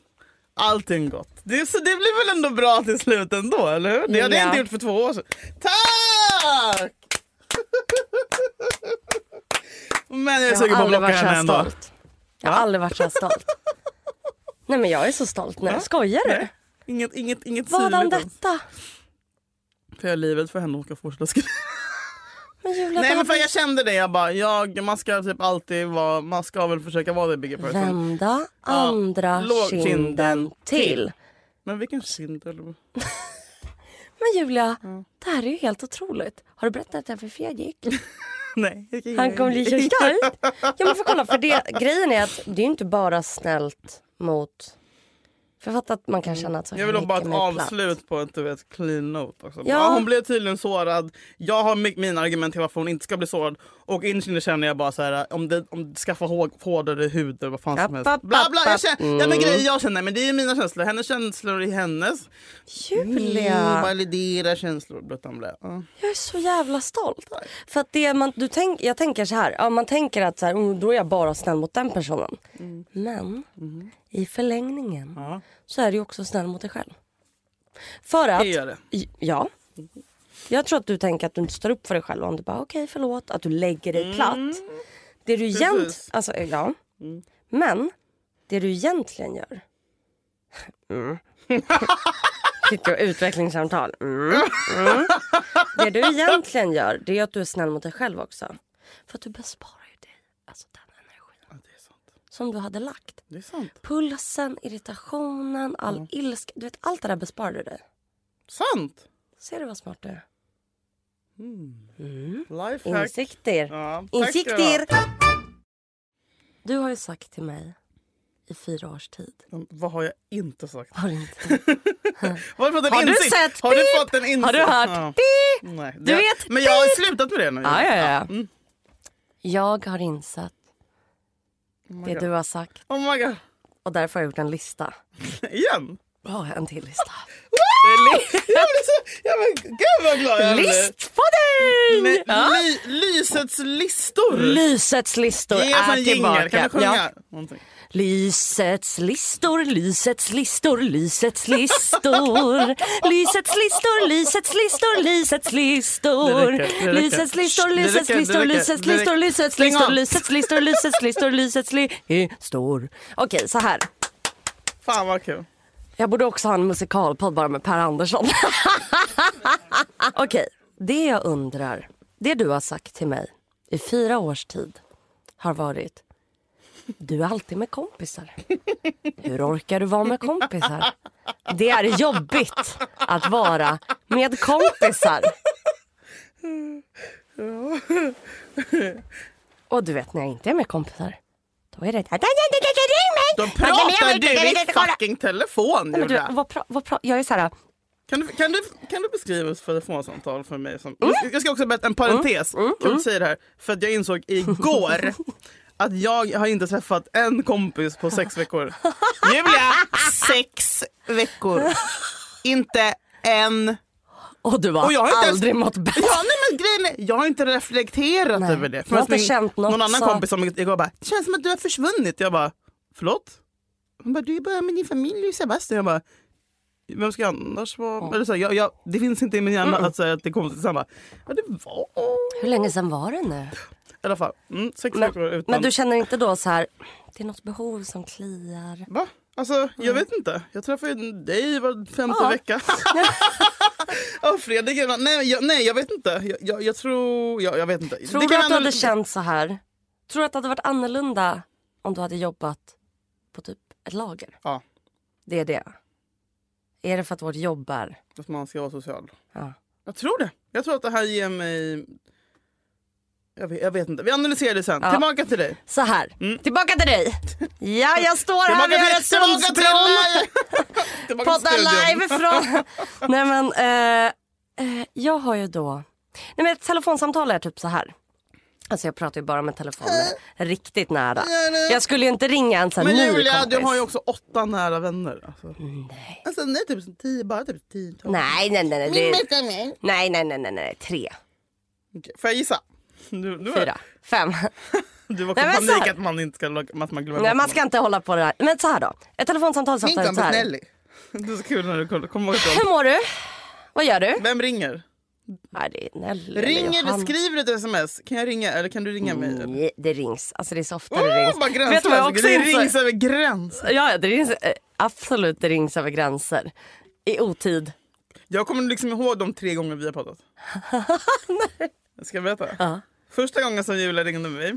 [SPEAKER 2] Allting gott. Det, så det blir väl ändå bra till slut ändå, eller hur? Det hade jag
[SPEAKER 3] Ja.
[SPEAKER 2] inte gjort för två år sedan. Tack! <laughs> Men jag är
[SPEAKER 3] Jag har
[SPEAKER 2] sugen på att
[SPEAKER 3] aldrig
[SPEAKER 2] blocka
[SPEAKER 3] varit så
[SPEAKER 2] henne
[SPEAKER 3] här
[SPEAKER 2] ändå.
[SPEAKER 3] stolt. Jag har aldrig varit så
[SPEAKER 2] <laughs>
[SPEAKER 3] här stolt. Nej men jag är så stolt nu. Skojar du?
[SPEAKER 2] Nej. Inget, inget, inget
[SPEAKER 3] Vadan
[SPEAKER 2] syrligt. ens.
[SPEAKER 3] detta?
[SPEAKER 2] För jag har livet för henne hon ska fortsätta
[SPEAKER 3] <laughs>
[SPEAKER 2] skriva.
[SPEAKER 3] Men Julia,
[SPEAKER 2] Nej
[SPEAKER 3] det
[SPEAKER 2] men för
[SPEAKER 3] hade-
[SPEAKER 2] jag kände det, jag bara, jag, man ska typ alltid vara, man ska väl försöka vara det bigger person.
[SPEAKER 3] Vända andra
[SPEAKER 2] låg
[SPEAKER 3] kinden
[SPEAKER 2] kinden
[SPEAKER 3] till.
[SPEAKER 2] Men vilken kind eller?
[SPEAKER 3] Men Julia, det här är ju helt otroligt. Har du berättat att jag för Fredrik?
[SPEAKER 2] <laughs> Nej.
[SPEAKER 3] Han
[SPEAKER 2] <laughs>
[SPEAKER 3] kommer bli så stark. Ja men för kolla, för det, grejen är att det är ju inte bara snällt mot... För jag fattar att man kan känna att så
[SPEAKER 2] Mm. Jag vill
[SPEAKER 3] här
[SPEAKER 2] ha bara
[SPEAKER 3] gick
[SPEAKER 2] ett
[SPEAKER 3] mig platt.
[SPEAKER 2] avslut på ett du vet, clean note. Också.
[SPEAKER 3] Ja.
[SPEAKER 2] Ja. hon blev tydligen sårad. Jag har mi- mina argument till varför hon inte ska bli sårad. Och innerst inne känner jag bara så här, om det, om det skaffa hå- hårdare hud eller vad fan som
[SPEAKER 3] App,
[SPEAKER 2] helst.
[SPEAKER 3] app,
[SPEAKER 2] Bla, bla,
[SPEAKER 3] app,
[SPEAKER 2] jag känner, ja, men grejer jag känner, men det är mina känslor. Hennes känslor är hennes. Mm,
[SPEAKER 3] Julia,
[SPEAKER 2] validera känslor. Bla, bla, bla. Ja.
[SPEAKER 3] jag är så jävla stolt. För att det man, du tänk, jag tänker så här, ja, man tänker att så här, "Oh, då är jag bara snäll mot den personen. Men i förlängningen
[SPEAKER 2] Mm. Ja.
[SPEAKER 3] så är du också snäll mot dig själv. För att...
[SPEAKER 2] Det gör det.
[SPEAKER 3] I- Ja. Jag tror att du tänker att du inte står upp för dig själv om du bara okej förlåt, att du lägger dig platt. Det du egent...
[SPEAKER 2] Precis.
[SPEAKER 3] alltså, ja. Men det du egentligen gör. Mm. <laughs> Sitter och utvecklingssamtal. Mm. Mm. Det du egentligen gör det är att du är snäll mot dig själv också. För att du besparar ju dig alltså den energin
[SPEAKER 2] Ja, det är sant.
[SPEAKER 3] som du hade lagt.
[SPEAKER 2] Det är sant.
[SPEAKER 3] Pulsen, irritationen, all ilska. Du vet allt det där besparar du dig.
[SPEAKER 2] Sant!
[SPEAKER 3] Ser du vad smart du är?
[SPEAKER 2] Lifehack.
[SPEAKER 3] Insikter.
[SPEAKER 2] Ja, tack ska du ha.
[SPEAKER 3] Insikter! Du har ju sagt till mig i fyra års tid.
[SPEAKER 2] Mm, Vad har jag inte sagt?
[SPEAKER 3] Har
[SPEAKER 2] <laughs>
[SPEAKER 3] du inte?
[SPEAKER 2] Har du fått en
[SPEAKER 3] Har du
[SPEAKER 2] insikt?
[SPEAKER 3] sett?
[SPEAKER 2] Har du
[SPEAKER 3] Pip!
[SPEAKER 2] fått en insikt?
[SPEAKER 3] Har du hört?
[SPEAKER 2] Ja.
[SPEAKER 3] Beep!
[SPEAKER 2] Nej,
[SPEAKER 3] Du
[SPEAKER 2] det-
[SPEAKER 3] vet, typ-
[SPEAKER 2] Men jag har slutat med det nu.
[SPEAKER 3] Ja, ja, ja.
[SPEAKER 2] Mm.
[SPEAKER 3] Jag har insett det
[SPEAKER 2] God.
[SPEAKER 3] du har sagt
[SPEAKER 2] Oh my god.
[SPEAKER 3] och därför har jag gjort en lista.
[SPEAKER 2] Igen?
[SPEAKER 3] Bra, en till
[SPEAKER 2] <laughs>
[SPEAKER 3] lista.
[SPEAKER 2] Jag blir så... Jag blir, gud vad glad jag blir.
[SPEAKER 3] Listfadäng!
[SPEAKER 2] Nej,
[SPEAKER 3] Ja.
[SPEAKER 2] Ly, lysets listor.
[SPEAKER 3] Lysets listor
[SPEAKER 2] Ge oss
[SPEAKER 3] är
[SPEAKER 2] en jingel. Kan
[SPEAKER 3] tillbaka.
[SPEAKER 2] du
[SPEAKER 3] Ja.
[SPEAKER 2] sjunga? Någonting.
[SPEAKER 3] Lysets listor, lysets listor, lysets listor. Lysets listor, lysets listor, lysets listor.
[SPEAKER 2] Det räcker, det räcker.
[SPEAKER 3] Lysets listor,
[SPEAKER 2] Det
[SPEAKER 3] lysets
[SPEAKER 2] räcker, det
[SPEAKER 3] listor,
[SPEAKER 2] räcker,
[SPEAKER 3] lysets
[SPEAKER 2] det räcker.
[SPEAKER 3] listor, lysets
[SPEAKER 2] Stäng
[SPEAKER 3] listor,
[SPEAKER 2] av.
[SPEAKER 3] lysets listor, lysets listor, lysets listor. Okej, så här.
[SPEAKER 2] Fan vad kul.
[SPEAKER 3] Jag borde också ha en musikalpodd bara med Per <laughs> Andersson. Okej, det jag undrar, det du har sagt till mig i fyra års tid har varit du är alltid med kompisar. Hur orkar du vara med kompisar? Det är jobbigt att vara med kompisar. Och du vet när jag inte är med kompisar, då är det...
[SPEAKER 2] Då pratar du i fucking telefon,
[SPEAKER 3] Men du,
[SPEAKER 2] Julia.
[SPEAKER 3] vad pra, vad pra, jag är så här,
[SPEAKER 2] Kan du, kan, du, kan du beskriva ett telefonsamtal för mig? Som, jag ska- Jag ska också berätta en parentes. Kan du säga det här? För att jag insåg igår att jag har inte träffat en kompis på sex veckor. Julia! Sex veckor. Inte en.
[SPEAKER 3] och du har,
[SPEAKER 2] Och jag har inte ens-
[SPEAKER 3] aldrig mått bättre.
[SPEAKER 2] Ja, nej, men grejen är, jag har inte reflekterat
[SPEAKER 3] Nej,
[SPEAKER 2] över det.
[SPEAKER 3] jag har inte
[SPEAKER 2] min,
[SPEAKER 3] känt något
[SPEAKER 2] någon annan
[SPEAKER 3] så-
[SPEAKER 2] kompis som igår bara, det känns som att du har försvunnit. Jag bara, förlåt? Hon bara, du är bara med din familj och Sebastian. Jag bara, vem ska annars vara?
[SPEAKER 3] Mm.
[SPEAKER 2] Eller så här, jag, jag, det finns inte i min hjärna att säga att det är konstigt. Så han bara, ja det var...
[SPEAKER 3] Hur länge sedan var det nu?
[SPEAKER 2] I alla fall, mm, sex
[SPEAKER 3] Men,
[SPEAKER 2] veckor utan.
[SPEAKER 3] men du känner inte då så här, det är något behov som kliar?
[SPEAKER 2] Va? Alltså, jag vet inte. Jag träffar ju dig var femte
[SPEAKER 3] Mm. Ja. <laughs>
[SPEAKER 2] vecka. oh, Fredrik, är- nej jag, nej, jag vet inte. Jag, jag, jag tror... Jag, jag vet inte.
[SPEAKER 3] Tror
[SPEAKER 2] Det
[SPEAKER 3] du
[SPEAKER 2] kan
[SPEAKER 3] att du hade
[SPEAKER 2] analys-
[SPEAKER 3] känt så här? Tror du att det hade varit annorlunda om du hade jobbat på typ ett lager?
[SPEAKER 2] Ja.
[SPEAKER 3] Det är det. Är det för att vårt jobb är...
[SPEAKER 2] Att man ska vara social.
[SPEAKER 3] Ja.
[SPEAKER 2] Jag tror det. Jag tror att det här ger mig... Jag vet, jag vet inte. Vi analyserar det sen.
[SPEAKER 3] Ja.
[SPEAKER 2] Tillbaka till dig.
[SPEAKER 3] Så här, tillbaka till dig! Ja, jag står här
[SPEAKER 2] Mm. Tillbaka
[SPEAKER 3] vid
[SPEAKER 2] till, tillbaka till
[SPEAKER 3] Öresundsbron. <laughs>
[SPEAKER 2] mig! Tillbaka till
[SPEAKER 3] Podda
[SPEAKER 2] studion.
[SPEAKER 3] live från...
[SPEAKER 2] <laughs>
[SPEAKER 3] Nej men, eh, eh, jag har ju då... Nej men ett telefonsamtal är typ så här. Alltså jag pratar ju bara med telefoner riktigt nära. Jag skulle ju inte ringa en sån här
[SPEAKER 2] Eh. Men
[SPEAKER 3] ny
[SPEAKER 2] Julia,
[SPEAKER 3] kompis.
[SPEAKER 2] du har ju också åtta nära vänner. Alltså. Nej. Alltså, nej, typ tio, bara typ tio. tolv.
[SPEAKER 3] Nej nej nej nej. Det... Nej nej nej nej nej. Tre,
[SPEAKER 2] Okej, Får jag gissa? Du, du, var- <laughs>
[SPEAKER 3] fyra, fem.
[SPEAKER 2] Du var
[SPEAKER 3] Nej, men så
[SPEAKER 2] panik
[SPEAKER 3] här-
[SPEAKER 2] att man inte ska laga- att man glömmer
[SPEAKER 3] nej
[SPEAKER 2] bort
[SPEAKER 3] man ska
[SPEAKER 2] någon.
[SPEAKER 3] inte hålla på det här. Men så här då. Ett telefonsamtal så
[SPEAKER 2] Min
[SPEAKER 3] här. så
[SPEAKER 2] kompis
[SPEAKER 3] här.
[SPEAKER 2] Nelly. <laughs> Det är så kul när du kollar. Kommer ihåg
[SPEAKER 3] Hur <laughs>
[SPEAKER 2] dem.
[SPEAKER 3] mår du? Vad gör du?
[SPEAKER 2] Vem ringer?
[SPEAKER 3] Nej, det är Nelly. eller
[SPEAKER 2] Ringer
[SPEAKER 3] Johanna.
[SPEAKER 2] du, skriver du ett sms? Kan jag ringa eller kan du ringa mig? Eller?
[SPEAKER 3] Nej, det rings. Alltså det Mm. är så ofta det
[SPEAKER 2] Åh,
[SPEAKER 3] rings.
[SPEAKER 2] vad
[SPEAKER 3] Vet du vad jag
[SPEAKER 2] gränslöst!
[SPEAKER 3] också
[SPEAKER 2] Det
[SPEAKER 3] insåg?
[SPEAKER 2] rings över gränsen.
[SPEAKER 3] Ja, ja, det rings, eh, absolut det rings över gränser. I otid.
[SPEAKER 2] Jag kommer liksom ihåg de tre gånger vi har
[SPEAKER 3] <laughs>
[SPEAKER 2] pratat. Ska jag berätta?
[SPEAKER 3] Ja.
[SPEAKER 2] Första gången som Julia ringde mig.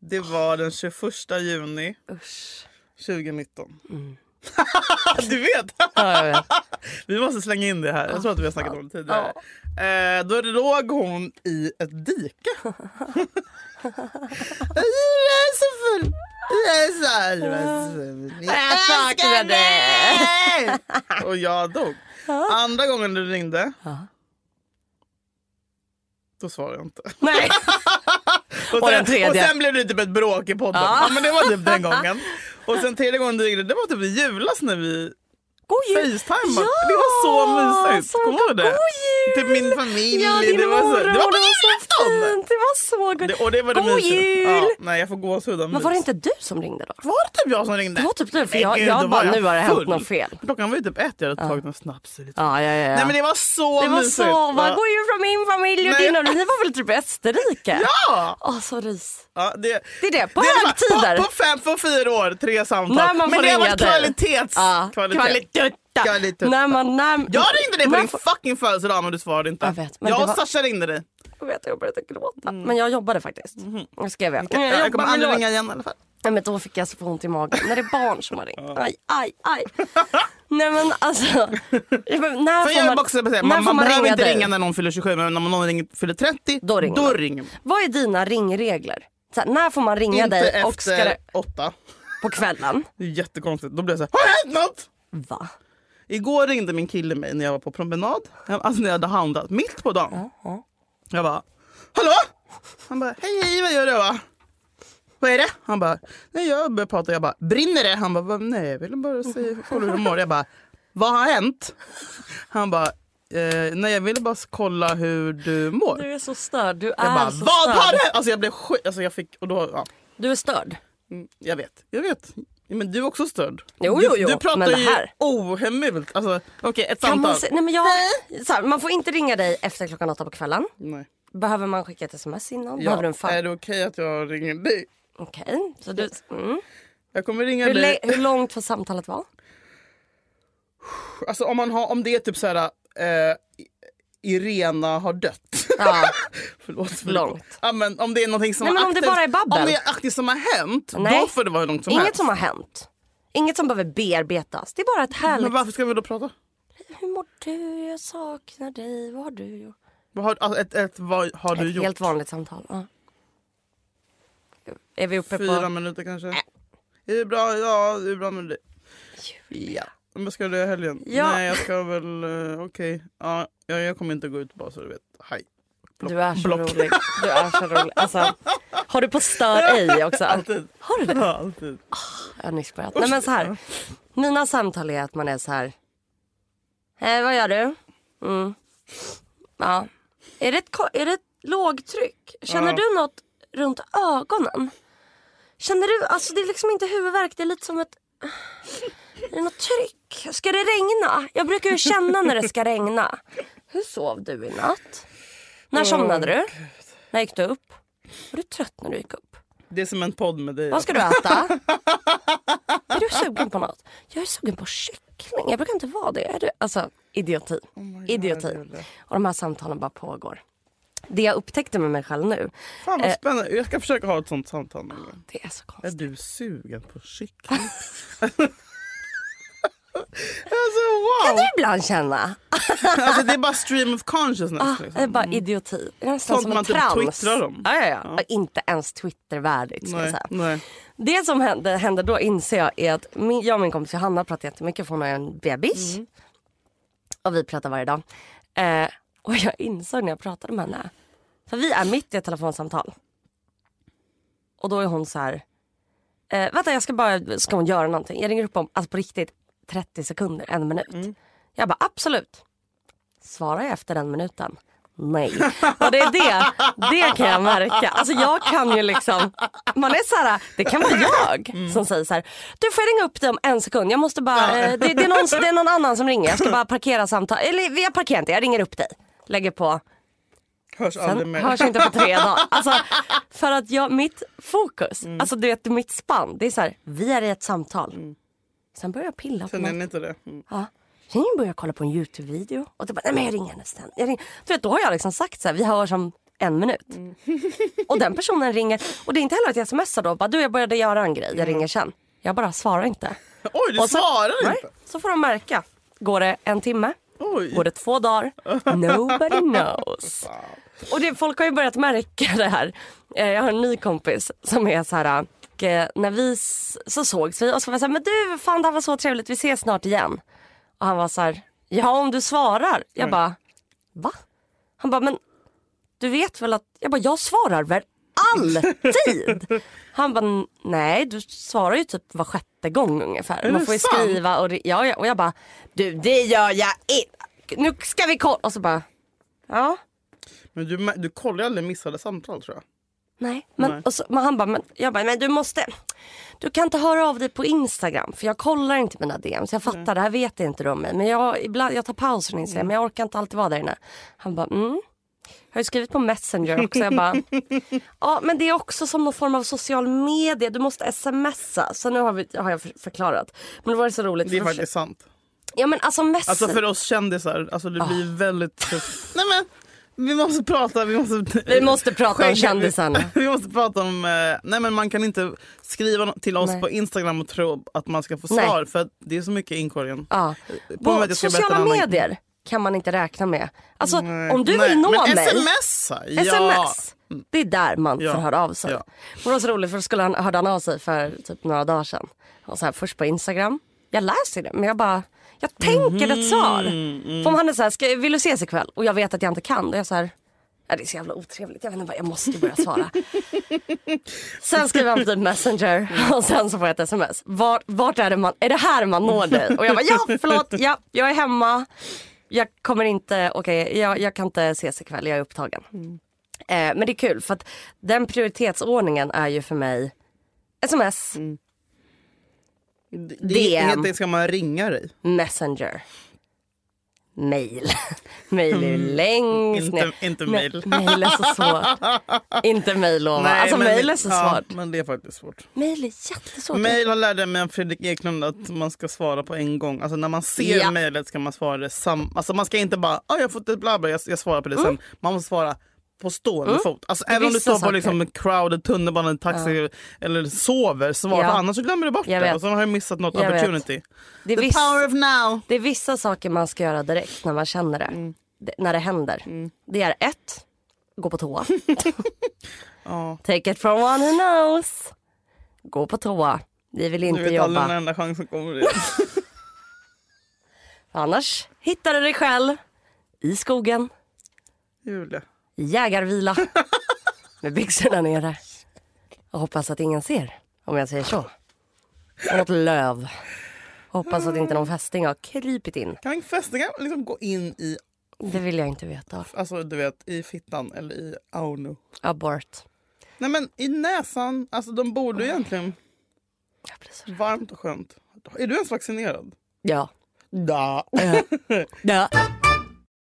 [SPEAKER 2] Det var den 21 juni
[SPEAKER 3] Usch. Mm.
[SPEAKER 2] 2019. <laughs> Du vet!
[SPEAKER 3] Ja, <laughs> jag vet.
[SPEAKER 2] Vi måste slänga in det här. Jag tror att vi har snackat om det tidigare. Eh, då låg hon i ett dike.
[SPEAKER 3] <laughs>
[SPEAKER 2] Jag är så full! Jag är så arg.
[SPEAKER 3] Jag saknar
[SPEAKER 2] <laughs>
[SPEAKER 3] dig.
[SPEAKER 2] Och jag dog. Andra gången du ringde, då svarade jag inte.
[SPEAKER 3] Nej.
[SPEAKER 2] Och,
[SPEAKER 3] Och
[SPEAKER 2] sen,
[SPEAKER 3] den tredje.
[SPEAKER 2] och sen blev det typ ett bråk i podden.
[SPEAKER 3] Ja.
[SPEAKER 2] Ja, men det var typ
[SPEAKER 3] <laughs>
[SPEAKER 2] den gången. Och sen tredje gången du ringde, det var typ i julas när vi
[SPEAKER 3] God jul!
[SPEAKER 2] facetimade. Det var så mysigt.
[SPEAKER 3] så
[SPEAKER 2] Kommer du ihåg det?
[SPEAKER 3] god jul!
[SPEAKER 2] Typ min familj.
[SPEAKER 3] Ja, din
[SPEAKER 2] det, var så,
[SPEAKER 3] morbror.
[SPEAKER 2] det var på
[SPEAKER 3] så
[SPEAKER 2] julafton!
[SPEAKER 3] fint. Det var så gott.
[SPEAKER 2] Det, och det var det
[SPEAKER 3] God
[SPEAKER 2] mysiga.
[SPEAKER 3] jul!
[SPEAKER 2] Ja, nej, jag får gåshud av
[SPEAKER 3] Men var det
[SPEAKER 2] mys.
[SPEAKER 3] inte du som ringde då?
[SPEAKER 2] Var det typ jag som ringde?
[SPEAKER 3] Det var typ du, för
[SPEAKER 2] Nej,
[SPEAKER 3] jag-
[SPEAKER 2] gud,
[SPEAKER 3] jag
[SPEAKER 2] då
[SPEAKER 3] bara,
[SPEAKER 2] var
[SPEAKER 3] nu har det hänt
[SPEAKER 2] full.
[SPEAKER 3] något fel.
[SPEAKER 2] Klockan var ju typ ett, jag hade tagit en snaps. och lite-
[SPEAKER 3] Ja, ja, ja. ja.
[SPEAKER 2] Nej men det var så
[SPEAKER 3] det var
[SPEAKER 2] mysigt.
[SPEAKER 3] så... Vad
[SPEAKER 2] Ja.
[SPEAKER 3] god jul från min familj och
[SPEAKER 2] Nej.
[SPEAKER 3] din och ni var väl typ i Österrike?
[SPEAKER 2] Ja!
[SPEAKER 3] Åh, så rys.
[SPEAKER 2] Ja, det,
[SPEAKER 3] Det är det, på
[SPEAKER 2] är
[SPEAKER 3] högtider.
[SPEAKER 2] På, på fem, på fyra år, tre samtal.
[SPEAKER 3] När
[SPEAKER 2] Men
[SPEAKER 3] man får
[SPEAKER 2] det har
[SPEAKER 3] ringa
[SPEAKER 2] varit
[SPEAKER 3] dig.
[SPEAKER 2] kvalitets...
[SPEAKER 3] Ja.
[SPEAKER 2] kvalitet.
[SPEAKER 3] Kvalitutta.
[SPEAKER 2] Kvalitutta.
[SPEAKER 3] När man, när,
[SPEAKER 2] Jag ringde dig på
[SPEAKER 3] man
[SPEAKER 2] din
[SPEAKER 3] får-
[SPEAKER 2] fucking födelsedag men du svarade inte.
[SPEAKER 3] Jag vet, men
[SPEAKER 2] jag
[SPEAKER 3] det
[SPEAKER 2] och
[SPEAKER 3] var-
[SPEAKER 2] Sasha ringde dig.
[SPEAKER 3] Jag vet, jag började gråta. Men jag jobbade faktiskt. Jag skrev jag. Mm,
[SPEAKER 2] Jag, kommer
[SPEAKER 3] jobbar,
[SPEAKER 2] aldrig
[SPEAKER 3] förlåt.
[SPEAKER 2] ringa igen i alla fall.
[SPEAKER 3] Nej, men då fick jag så få ont i magen. När det är barn som har ringt. Aj, aj, aj. Nej men
[SPEAKER 2] <laughs>
[SPEAKER 3] alltså. Jag bara, när
[SPEAKER 2] För
[SPEAKER 3] får
[SPEAKER 2] jag
[SPEAKER 3] man,
[SPEAKER 2] vill också säga,
[SPEAKER 3] när
[SPEAKER 2] man,
[SPEAKER 3] får
[SPEAKER 2] man behöver
[SPEAKER 3] ringa
[SPEAKER 2] inte
[SPEAKER 3] dig?
[SPEAKER 2] ringa när någon fyller 27 men om någon ringer, fyller 30
[SPEAKER 3] Då ringer man.
[SPEAKER 2] man.
[SPEAKER 3] Vad är dina ringregler? Så här, när får man ringa
[SPEAKER 2] Inte
[SPEAKER 3] dig och ska
[SPEAKER 2] efter
[SPEAKER 3] det,
[SPEAKER 2] åtta.
[SPEAKER 3] på kvällen?
[SPEAKER 2] Det är jättekonstigt. Då blir jag så här, har det hänt något?
[SPEAKER 3] Va?
[SPEAKER 2] Igår ringde min kille mig när jag var på promenad. Alltså när jag hade handlat. Mitt på dagen. Jag bara, hallå? Han bara, hej hej vad gör du? Jag bara, vad är det? Han bara, nej jag började prata. Jag bara, brinner det? Han bara, nej jag ville bara säga kolla hur du mår. Jag bara, vad har hänt? Han bara, eh, nej jag ville bara kolla hur du mår.
[SPEAKER 3] Du är så störd. Du är
[SPEAKER 2] Jag bara,
[SPEAKER 3] så
[SPEAKER 2] vad har
[SPEAKER 3] störd.
[SPEAKER 2] hänt? Alltså jag blev skit, alltså jag fick, och då, ja,
[SPEAKER 3] Du är störd.
[SPEAKER 2] Mm, jag vet, jag vet. Men du är också störd.
[SPEAKER 3] Jo,
[SPEAKER 2] du,
[SPEAKER 3] jo, jo,
[SPEAKER 2] du pratar
[SPEAKER 3] men det
[SPEAKER 2] ju
[SPEAKER 3] här-
[SPEAKER 2] ohemult. Alltså, Okej, ett
[SPEAKER 3] Kan man,
[SPEAKER 2] samtal.
[SPEAKER 3] se, nej men jag, så här, man får inte ringa dig efter klockan åtta på kvällen.
[SPEAKER 2] Nej.
[SPEAKER 3] Behöver man skicka ett sms
[SPEAKER 2] Ja.
[SPEAKER 3] innan?
[SPEAKER 2] eh,
[SPEAKER 3] Behöver du en fan?
[SPEAKER 2] Är det okej att jag ringer dig?
[SPEAKER 3] Okej. Så du, mm.
[SPEAKER 2] Jag kommer ringa
[SPEAKER 3] hur,
[SPEAKER 2] dig.
[SPEAKER 3] le- hur långt får samtalet vara?
[SPEAKER 2] Alltså, om, man har, om det är typ så här... Eh, Irena har dött.
[SPEAKER 3] Ja.
[SPEAKER 2] <laughs> Förlåt. för-
[SPEAKER 3] Långt.
[SPEAKER 2] Ja, men om det är någonting som
[SPEAKER 3] Nej,
[SPEAKER 2] har
[SPEAKER 3] men om det
[SPEAKER 2] aktivt-
[SPEAKER 3] bara är babbel.
[SPEAKER 2] Om det är aktivt som har hänt,
[SPEAKER 3] Nej.
[SPEAKER 2] då får det vara hur långt som
[SPEAKER 3] Inget
[SPEAKER 2] helst.
[SPEAKER 3] som har hänt. Inget som behöver bearbetas. Det är bara ett härligt...
[SPEAKER 2] Men varför ska vi då prata?
[SPEAKER 3] Hur mår du? Jag saknar dig. Vad har du gjort?
[SPEAKER 2] Vad har, alltså, ett, ett, vad har du
[SPEAKER 3] ett
[SPEAKER 2] gjort?
[SPEAKER 3] helt vanligt samtal. Ja. Är vi uppe
[SPEAKER 2] Fyra
[SPEAKER 3] på...
[SPEAKER 2] minuter kanske? Är det bra? Ja, det är bra med dig. Ja. Men ska du göra i helgen?
[SPEAKER 3] Ja.
[SPEAKER 2] Nej, jag ska väl... eh, Okej. Ja, jag, jag kommer inte gå ut bara så du vet. Hej.
[SPEAKER 3] Du är så
[SPEAKER 2] Block.
[SPEAKER 3] rolig. Du är så rolig. Alltså, har du på stör
[SPEAKER 2] <laughs>
[SPEAKER 3] ej också?
[SPEAKER 2] Alltid.
[SPEAKER 3] Har du det?
[SPEAKER 2] Ja, alltid.
[SPEAKER 3] Jag har nyss börjat. Nej, men så här. Mina samtal är att man är så här... Hej, vad gör du? Mm. Ja. Är det, ett, ko- är det ett lågtryck? Känner du något runt ögonen? Känner du... Alltså det är liksom inte huvudvärk. Det är lite som ett... Är det något tryck? Ska det regna? Jag brukar ju känna när det ska regna. Hur sov du i natt? När somnade du? När gick du upp? Var du trött när du gick upp?
[SPEAKER 2] Det är som en podd med dig.
[SPEAKER 3] Vad ska du
[SPEAKER 2] <laughs>
[SPEAKER 3] äta? är du sugen på något? Jag är sugen på kyckling. Jag brukar inte vara det. Är du? Alltså, idioti.
[SPEAKER 2] Oh
[SPEAKER 3] idioti. Och de här samtalen bara pågår. Det jag upptäckte med mig själv nu,
[SPEAKER 2] Fan vad spännande. Jag ska försöka ha ett sånt samtal någon gång.
[SPEAKER 3] det Eh. är så
[SPEAKER 2] Är
[SPEAKER 3] konstigt.
[SPEAKER 2] du sugen på kyckling? <laughs> alltså
[SPEAKER 3] Kan
[SPEAKER 2] wow!
[SPEAKER 3] du ibland känna?
[SPEAKER 2] Alltså, det är bara stream of consciousness.
[SPEAKER 3] Det är
[SPEAKER 2] Liksom.
[SPEAKER 3] bara idioti. Det är nästan
[SPEAKER 2] Sånt
[SPEAKER 3] som en
[SPEAKER 2] man typ
[SPEAKER 3] trans.
[SPEAKER 2] twittrar om.
[SPEAKER 3] Ja, ja, ja. Inte ens twittervärdigt ska jag
[SPEAKER 2] Nej,
[SPEAKER 3] säga.
[SPEAKER 2] nej.
[SPEAKER 3] Det som hände, hände då inser jag är att min, jag och min kompis Johanna pratar jättemycket för hon har ju en bebis. Och vi pratar varje dag. Eh, och jag insåg när jag pratade med henne. För vi är mitt i ett telefonsamtal. Och då är hon så här. Eh, vänta jag ska bara, ska hon göra någonting? Jag ringer upp om, alltså på riktigt 30 sekunder, en minut. Jag bara absolut. Svarar jag efter den minuten? Nej. Och det är det, det kan jag märka. Alltså jag kan ju liksom, man är så här, det kan vara jag som säger så här, du får jag ringa upp dig om en sekund, jag måste bara, eh, det, det, är någon, det är någon annan som ringer, jag ska bara parkera samtal, eller jag parkerar inte, jag ringer upp dig. Lägger på,
[SPEAKER 2] Hörs aldrig
[SPEAKER 3] Sen
[SPEAKER 2] mer. <laughs>
[SPEAKER 3] hörs inte på tre dagar. Alltså, för att jag, mitt fokus,
[SPEAKER 2] Mm.
[SPEAKER 3] alltså du vet mitt spann, det är så här, vi är i ett samtal. Sen börjar jag pilla på
[SPEAKER 2] Sen är
[SPEAKER 3] något.
[SPEAKER 2] ni inte det. Mm.
[SPEAKER 3] Ja. Sen börjar jag kolla på en Youtube-video och då bara, nej men jag ringer henne sen. Jag ringer. Du vet, då har jag liksom sagt så här, vi hörs om en minut. <laughs> och den personen ringer, och det är inte heller att jag smsar då, bara, du jag började göra en grej, jag ringer sen. Jag bara svarar inte.
[SPEAKER 2] Oj, du
[SPEAKER 3] Och sen-
[SPEAKER 2] svarar
[SPEAKER 3] Nej,
[SPEAKER 2] inte!
[SPEAKER 3] Så får de märka. Går det en timme?
[SPEAKER 2] Oj.
[SPEAKER 3] Går det två dagar? Nobody knows. Och det, folk har ju börjat märka det här. Eh, Jag har en ny kompis som är så här. och, eh, När vi s- så sågs vi och så var jag så här, men du fan det här var så trevligt, vi ses snart igen. Och han var så här, ja om du svarar. Jag bara, va? Han bara, men du vet väl att, jag bara, jag svarar väl
[SPEAKER 2] <laughs>
[SPEAKER 3] alltid? Han bara, nej du svarar ju typ var sjätte gång ungefär. Man
[SPEAKER 2] det
[SPEAKER 3] får ju
[SPEAKER 2] sant?
[SPEAKER 3] skriva och, det- ja, ja. och jag bara, du det gör jag inte. Nu ska vi kolla. Och så bara, ja.
[SPEAKER 2] Men du, mä- du kollar ju aldrig missade samtal tror jag.
[SPEAKER 3] Nej, men,
[SPEAKER 2] Nej.
[SPEAKER 3] Och så, men han bara, men, jag bara, men du måste, du kan inte höra av dig på Instagram för jag kollar inte mina DMs. Jag fattar, det här vet inte du om mig. Men jag, ibland, jag tar pauser från
[SPEAKER 2] Mm.
[SPEAKER 3] Instagram, men jag orkar inte alltid vara där inne. Han bara, mm. Jag har ju skrivit på Messenger också.
[SPEAKER 2] <laughs>
[SPEAKER 3] Jag bara, ja men det är också som någon form av social media. Du måste smsa. Så nu har, vi, har jag för- förklarat. Men det var så roligt.
[SPEAKER 2] Det är
[SPEAKER 3] för-
[SPEAKER 2] faktiskt sant.
[SPEAKER 3] Ja men alltså messenger.
[SPEAKER 2] Alltså för oss kändisar, alltså det blir väldigt tufft. <laughs> Nej men, vi måste prata, vi måste...
[SPEAKER 3] Vi måste prata om
[SPEAKER 2] Skänka-
[SPEAKER 3] kändisarna.
[SPEAKER 2] <laughs> Vi måste prata om... eh, Nej men man kan inte skriva no- till oss
[SPEAKER 3] Nej.
[SPEAKER 2] på Instagram och tro att man ska få
[SPEAKER 3] Nej.
[SPEAKER 2] svar för att det är så mycket i inkorgen.
[SPEAKER 3] Ja.
[SPEAKER 2] På med att
[SPEAKER 3] På
[SPEAKER 2] jag ska berätta en
[SPEAKER 3] sociala
[SPEAKER 2] annan-
[SPEAKER 3] medier kan man inte räkna med. Alltså
[SPEAKER 2] Nej.
[SPEAKER 3] om du
[SPEAKER 2] Nej,
[SPEAKER 3] vill nå
[SPEAKER 2] men
[SPEAKER 3] mig.
[SPEAKER 2] sms! Ja.
[SPEAKER 3] Sms. Mm. Det är där man
[SPEAKER 2] Ja.
[SPEAKER 3] får höra av sig.
[SPEAKER 2] Ja.
[SPEAKER 3] Men Det var så roligt för då skulle han, hörde han av sig för typ några dagar sedan. Och så här, först på Instagram. Jag läser det men jag bara, jag tänker ett
[SPEAKER 2] Mhm,
[SPEAKER 3] svar.
[SPEAKER 2] mm.
[SPEAKER 3] För om han är så här, ska, vill du ses ikväll? Och jag vet att jag inte kan. Då är jag så här, ja, det är så jävla otrevligt. Jag vet inte, vad, jag måste
[SPEAKER 2] <laughs>
[SPEAKER 3] börja svara. sen skriver han på typ Messenger
[SPEAKER 2] Mm.
[SPEAKER 3] och sen så får jag ett sms. Vart, vart är det man, är det här man når dig? Och jag bara, ja förlåt, ja, jag är hemma. Jag kommer inte, okej jag, jag kan inte ses ikväll, jag är upptagen. Eh, men det är kul för att den prioritetsordningen är ju för mig sms,
[SPEAKER 2] Mm. Det, det är
[SPEAKER 3] DM.
[SPEAKER 2] inget, det ska man ringa dig.
[SPEAKER 3] messenger, mail. <laughs> mail är ju längst
[SPEAKER 2] Mm. Inte,
[SPEAKER 3] ner.
[SPEAKER 2] inte
[SPEAKER 3] Men
[SPEAKER 2] mail.
[SPEAKER 3] Mail är så
[SPEAKER 2] <laughs>
[SPEAKER 3] svårt. inte mail lovar.
[SPEAKER 2] Nej,
[SPEAKER 3] alltså
[SPEAKER 2] men
[SPEAKER 3] mail
[SPEAKER 2] det-
[SPEAKER 3] är så
[SPEAKER 2] ja,
[SPEAKER 3] svårt.
[SPEAKER 2] men det är faktiskt svårt.
[SPEAKER 3] Mail är jättesvårt.
[SPEAKER 2] Mail har lärt mig av Fredrik Eklund att man ska svara på en gång. Alltså när man ser
[SPEAKER 3] Ja.
[SPEAKER 2] mejlet ska man svara det sam- Alltså man ska inte bara ah, jag har fått ett bla bla, jag, jag svarar på det sen. Man måste svara på stående fot. Alltså, även om du
[SPEAKER 3] Mm. vissa
[SPEAKER 2] står på
[SPEAKER 3] saker.
[SPEAKER 2] liksom, en crowded tunnelbana, en taxi eller sover, svara.
[SPEAKER 3] Ja.
[SPEAKER 2] För annars så glömmer du bort
[SPEAKER 3] Jag
[SPEAKER 2] det
[SPEAKER 3] vet.
[SPEAKER 2] och så har jag missat något
[SPEAKER 3] Jag vet.
[SPEAKER 2] opportunity.
[SPEAKER 3] det, är
[SPEAKER 2] The power
[SPEAKER 3] vissa,
[SPEAKER 2] of now!
[SPEAKER 3] det är vissa saker man ska göra direkt när man känner det.
[SPEAKER 2] Mm.
[SPEAKER 3] Det- När det händer. Det är ett, gå
[SPEAKER 2] <laughs>
[SPEAKER 3] på toa. Take it from one who knows. Gå på toa. Vi vill
[SPEAKER 2] Du
[SPEAKER 3] inte
[SPEAKER 2] vet aldrig
[SPEAKER 3] jobba.
[SPEAKER 2] när den enda chansen kommer.
[SPEAKER 3] <laughs>
[SPEAKER 2] igen.
[SPEAKER 3] Annars hittar du dig själv i skogen,
[SPEAKER 2] Julia.
[SPEAKER 3] i <laughs> jägarvila med byxorna nere. Och hoppas att ingen ser, om jag säger så. Och Något löv. Hoppas att inte någon fästing har krypit in.
[SPEAKER 2] Kan fästingar liksom gå in i,
[SPEAKER 3] Det vill jag inte veta.
[SPEAKER 2] alltså, du vet, i fittan eller i auno?
[SPEAKER 3] Abort.
[SPEAKER 2] Nej men i näsan, alltså de borde ju egentligen...
[SPEAKER 3] Jag blir så rädd.
[SPEAKER 2] Varmt och skönt. Är du ens vaccinerad?
[SPEAKER 3] Ja.
[SPEAKER 2] Ja.
[SPEAKER 3] ja.